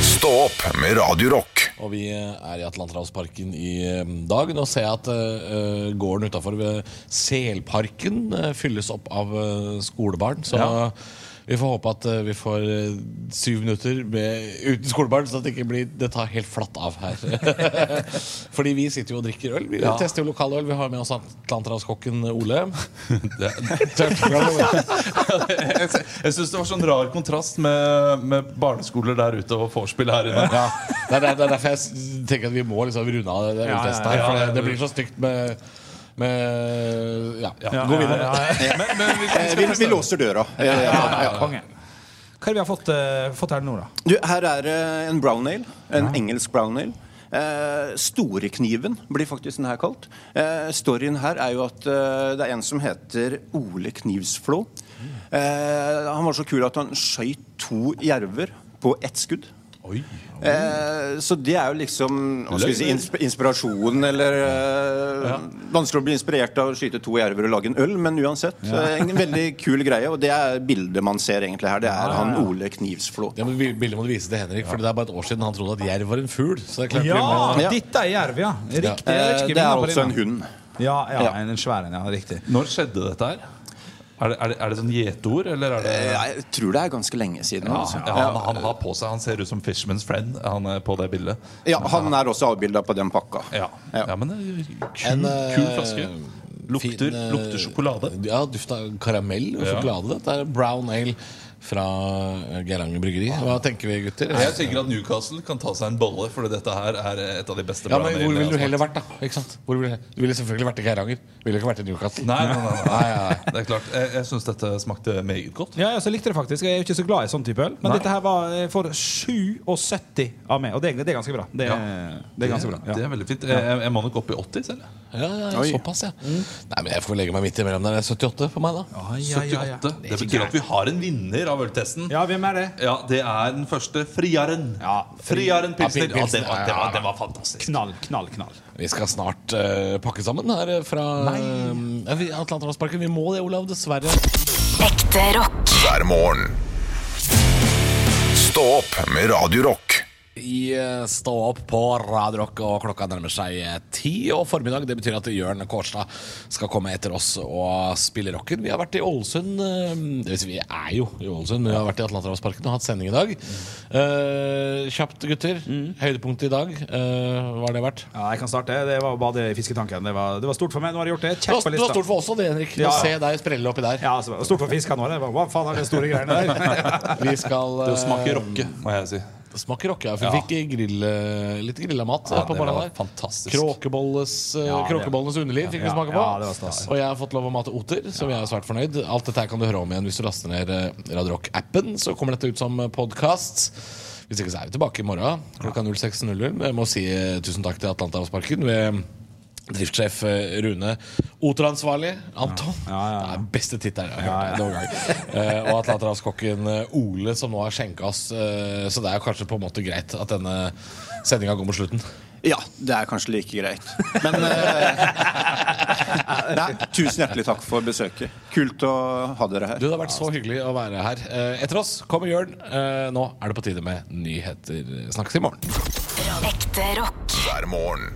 Speaker 5: Stå opp med Radio Rock.
Speaker 3: Og vi eh, er i Atlanterhavsparken i eh, dag. Nå ser jeg at eh, eh, gården utafor Selparken eh, fylles opp av eh, skolebarn. Så
Speaker 2: Ja.
Speaker 3: vi får håpe at eh, vi får eh, syv minutter med, uten skolebarn, så at det ikke blir Det tar helt flatt av her. Fordi vi sitter jo og drikker øl. Vi
Speaker 2: Ja.
Speaker 3: tester jo lokaløl. Vi har med oss Atlanterhavskokken Ole.
Speaker 2: Det, jeg jeg syns det var sånn rar kontrast med, med barneskoler der ute og vorspiel her inne.
Speaker 3: Ja. Det, er, det er derfor jeg s- tenker at vi må liksom runde av det, det
Speaker 2: Ja, ja,
Speaker 3: øltestet
Speaker 2: ja,
Speaker 3: her. For
Speaker 2: ja,
Speaker 3: det,
Speaker 2: ja.
Speaker 3: det blir så stygt med, med Ja,
Speaker 2: Ja,
Speaker 3: gå
Speaker 2: ja,
Speaker 3: videre.
Speaker 2: ja, ja. Men- men vi-
Speaker 8: Eh, Vi, vi låser døra.
Speaker 3: Ja, ja, ja,
Speaker 8: ja.
Speaker 7: Konge. Hva er det vi har fått, eh, fått her nå, da?
Speaker 8: Du, her er eh, en brown ale. En engelsk brown ale. Eh, Storekniven blir faktisk den her kalt. Eh, storyen her er jo at eh, det er en som heter Ole Knivsflå. Eh, han var så kul at han skøyt to jerver på ett skudd. Eh, så det er jo liksom hva skal vi si, insp inspirasjonen, eller eh, Vanskelig å bli inspirert av å skyte to jerver og lage en øl, men uansett.
Speaker 3: Ja.
Speaker 8: eh, En veldig kul greie, og det er bildet man ser egentlig her. Det er han Ole Knivsflå.
Speaker 3: Det må- bildet må du vise til Henrik, for det er bare et år siden han trodde at jerv var en fugl. Så det er klart vi
Speaker 7: Ja,
Speaker 3: må-
Speaker 7: dette er jerv, ja. Riktig.
Speaker 3: Ja.
Speaker 7: jeg vet
Speaker 3: Eh,
Speaker 7: ikke
Speaker 3: det er
Speaker 7: navnet på
Speaker 3: altså
Speaker 7: den.
Speaker 3: en hund.
Speaker 7: Ja, ja,
Speaker 3: Ja.
Speaker 7: en svær en. Ja, riktig.
Speaker 2: Når skjedde dette her? Er det, er det, er det sånn gjeteord, eller er det
Speaker 8: Eh, Jeg tror det er ganske lenge siden.
Speaker 2: Ja,
Speaker 8: altså.
Speaker 2: ja, han, han har på seg Han ser ut som Fishman's Friend Han er på det bildet.
Speaker 8: Ja, han er også avbilda på den pakka.
Speaker 2: Ja, men det er kul,
Speaker 3: En, eh,
Speaker 2: kul flaske. Lukter,
Speaker 3: fin, eh,
Speaker 2: lukter sjokolade.
Speaker 3: Ja, duft av karamell og
Speaker 2: Ja.
Speaker 3: sjokolade. Dette er brown ale fra eh, Geiranger bryggeri. Hva tenker vi, gutter?
Speaker 2: Jeg tenker at Newcastle kan ta seg en bolle, Fordi dette her er et av de beste
Speaker 3: Ja, men
Speaker 2: brandene
Speaker 3: Hvor
Speaker 2: jeg
Speaker 3: ville du
Speaker 2: har
Speaker 3: heller vært, da? Ikke sant? Hvor ville, du ville selvfølgelig vært i Geiranger. Ville ikke vært i Newcastle.
Speaker 2: Nei, nei, nei, nei.
Speaker 3: nei, nei.
Speaker 2: Det er klart, Jeg, jeg syns dette smakte meget godt.
Speaker 7: Ja, jeg også likte det faktisk. Jeg er jo ikke så glad i sånn type øl. Men
Speaker 2: Nei.
Speaker 7: dette her var eh, for 77 av meg, og det, er- det er ganske bra. Det, er- det er ganske bra.
Speaker 2: Det er veldig fint. Jeg, jeg- jeg må nok opp i 80 selv.
Speaker 3: Ja, ja,
Speaker 2: Oi.
Speaker 3: såpass, ja. Nei, men Jeg får legge meg midt imellom der. Det er 78 på meg, da.
Speaker 2: 78. Det betyr at vi har en vinner av øltesten.
Speaker 7: Ja, hvem er Det
Speaker 2: Ja, det er den første friaren. Friaren Pilsner. Ja, det var, det var, det var fantastisk.
Speaker 7: Knall, knall, knall.
Speaker 3: Vi skal snart eh, pakke sammen her eh, fra eh, vi- Atlanterhavsparken. Vi må det, Olav. Dessverre.
Speaker 4: Ekte rock.
Speaker 5: Hver morgen. Stå opp med Radio Rock.
Speaker 3: I eh, Stå opp på Radio Rock, og klokka nærmer seg eh, ti og formiddag. Det betyr at Jørn Kårstad skal komme etter oss og spille rocken. Vi har vært i Ålesund eh, det vil si, Vi er jo i Ålesund, men vi har vært i Atlanterhavsparken og hatt sending i dag. Eh, kjapt, gutter. Høydepunktet i dag, eh, hva har det vært?
Speaker 7: Ja, jeg kan starte. Det var bare det i fisketanken. Det var, det var stort for meg. Nå har jeg gjort det.
Speaker 3: Det
Speaker 7: Kjekk på
Speaker 3: var, det var
Speaker 7: lista.
Speaker 3: stort for oss også, det, Henrik.
Speaker 7: Ja.
Speaker 3: Å se deg sprelle oppi der.
Speaker 7: Ja, altså, det var stort for fiskene våre. Det var, Hva faen er det store greiene der?
Speaker 3: Vi skal eh,
Speaker 2: Det smaker rocke, må jeg si.
Speaker 3: Smaker rocke, ja. Vi
Speaker 2: Ja.
Speaker 3: fikk grill, eh, litt grilla mat eh,
Speaker 2: Ja,
Speaker 3: på
Speaker 2: det var
Speaker 3: morgenen der.
Speaker 2: fantastisk.
Speaker 3: Kråkebolles, eh,
Speaker 2: Ja, det-
Speaker 3: Kråkebollenes underliv fikk vi
Speaker 2: Ja,
Speaker 3: smake på.
Speaker 2: ja, det var stas.
Speaker 3: og jeg har fått lov å mate oter, så vi er svært fornøyd. Alt dette her kan du høre om igjen hvis du laster ned eh, Radio Rock-appen. Så kommer dette ut som podkast. Hvis ikke så er vi tilbake i morgen klokka 06.00. Jeg må si eh, tusen takk til Atlanterhavsparken ved driftssjef eh, Rune. Oteransvarlig Anton. Det er beste tittelen jeg har hørt. noen gang. Eh, og atlanterhavskokken eh, Ole, som nå har skjenka oss. eh, så det er jo kanskje på en måte greit at denne sendinga går mot slutten.
Speaker 8: Ja, det er kanskje like greit. Men eh, nei, Tusen hjertelig takk for besøket. Kult å ha dere her.
Speaker 3: Du, Det har vært så hyggelig å være her. Eh, etter oss kommer Jørn. Eh, nå er det på tide med nyheter. Snakkes i morgen.
Speaker 4: Ekte rock.
Speaker 5: Hver morgen.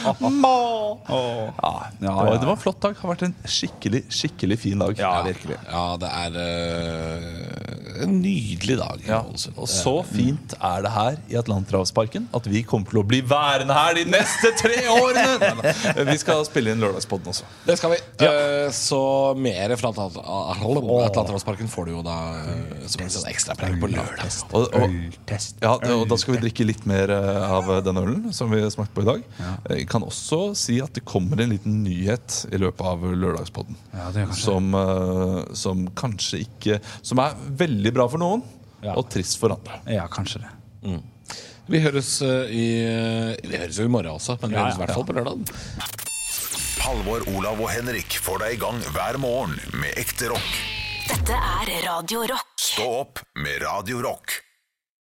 Speaker 2: det, var, det var en flott dag. Det har vært en skikkelig skikkelig fin dag.
Speaker 3: Ja, det er eh, En nydelig dag.
Speaker 2: Ja. altså, Og så fint er det her i Atlanterhavsparken at vi kommer til å bli værende her de neste tre årene! Nei, nei. Vi skal spille inn Lørdagspodden også.
Speaker 3: Det skal vi. Eh, Så mer fra Atlant- Atlanterhavsparken får du jo da eh, som en sånn ekstra preg på lørdag.
Speaker 2: Og, og, ja, og da skal vi drikke litt mer eh, av den ølen som vi smakte på i dag. Eh, Jeg kan også si at det kommer en liten nyhet i løpet av lørdagspodden. som, eh, som kanskje ikke Som er veldig bra for noen, og trist for andre.
Speaker 20: Ja, kanskje det.
Speaker 3: Mm. Vi høres eh, i Vi høres jo i morgen også, men vi
Speaker 5: Ja,
Speaker 3: høres i
Speaker 5: ja.
Speaker 3: hvert fall på lørdag.
Speaker 5: Halvor, Olav og Henrik får deg i gang hver morgen med ekte rock.
Speaker 4: Dette er Radio Rock.
Speaker 5: Stå opp med Radio Rock.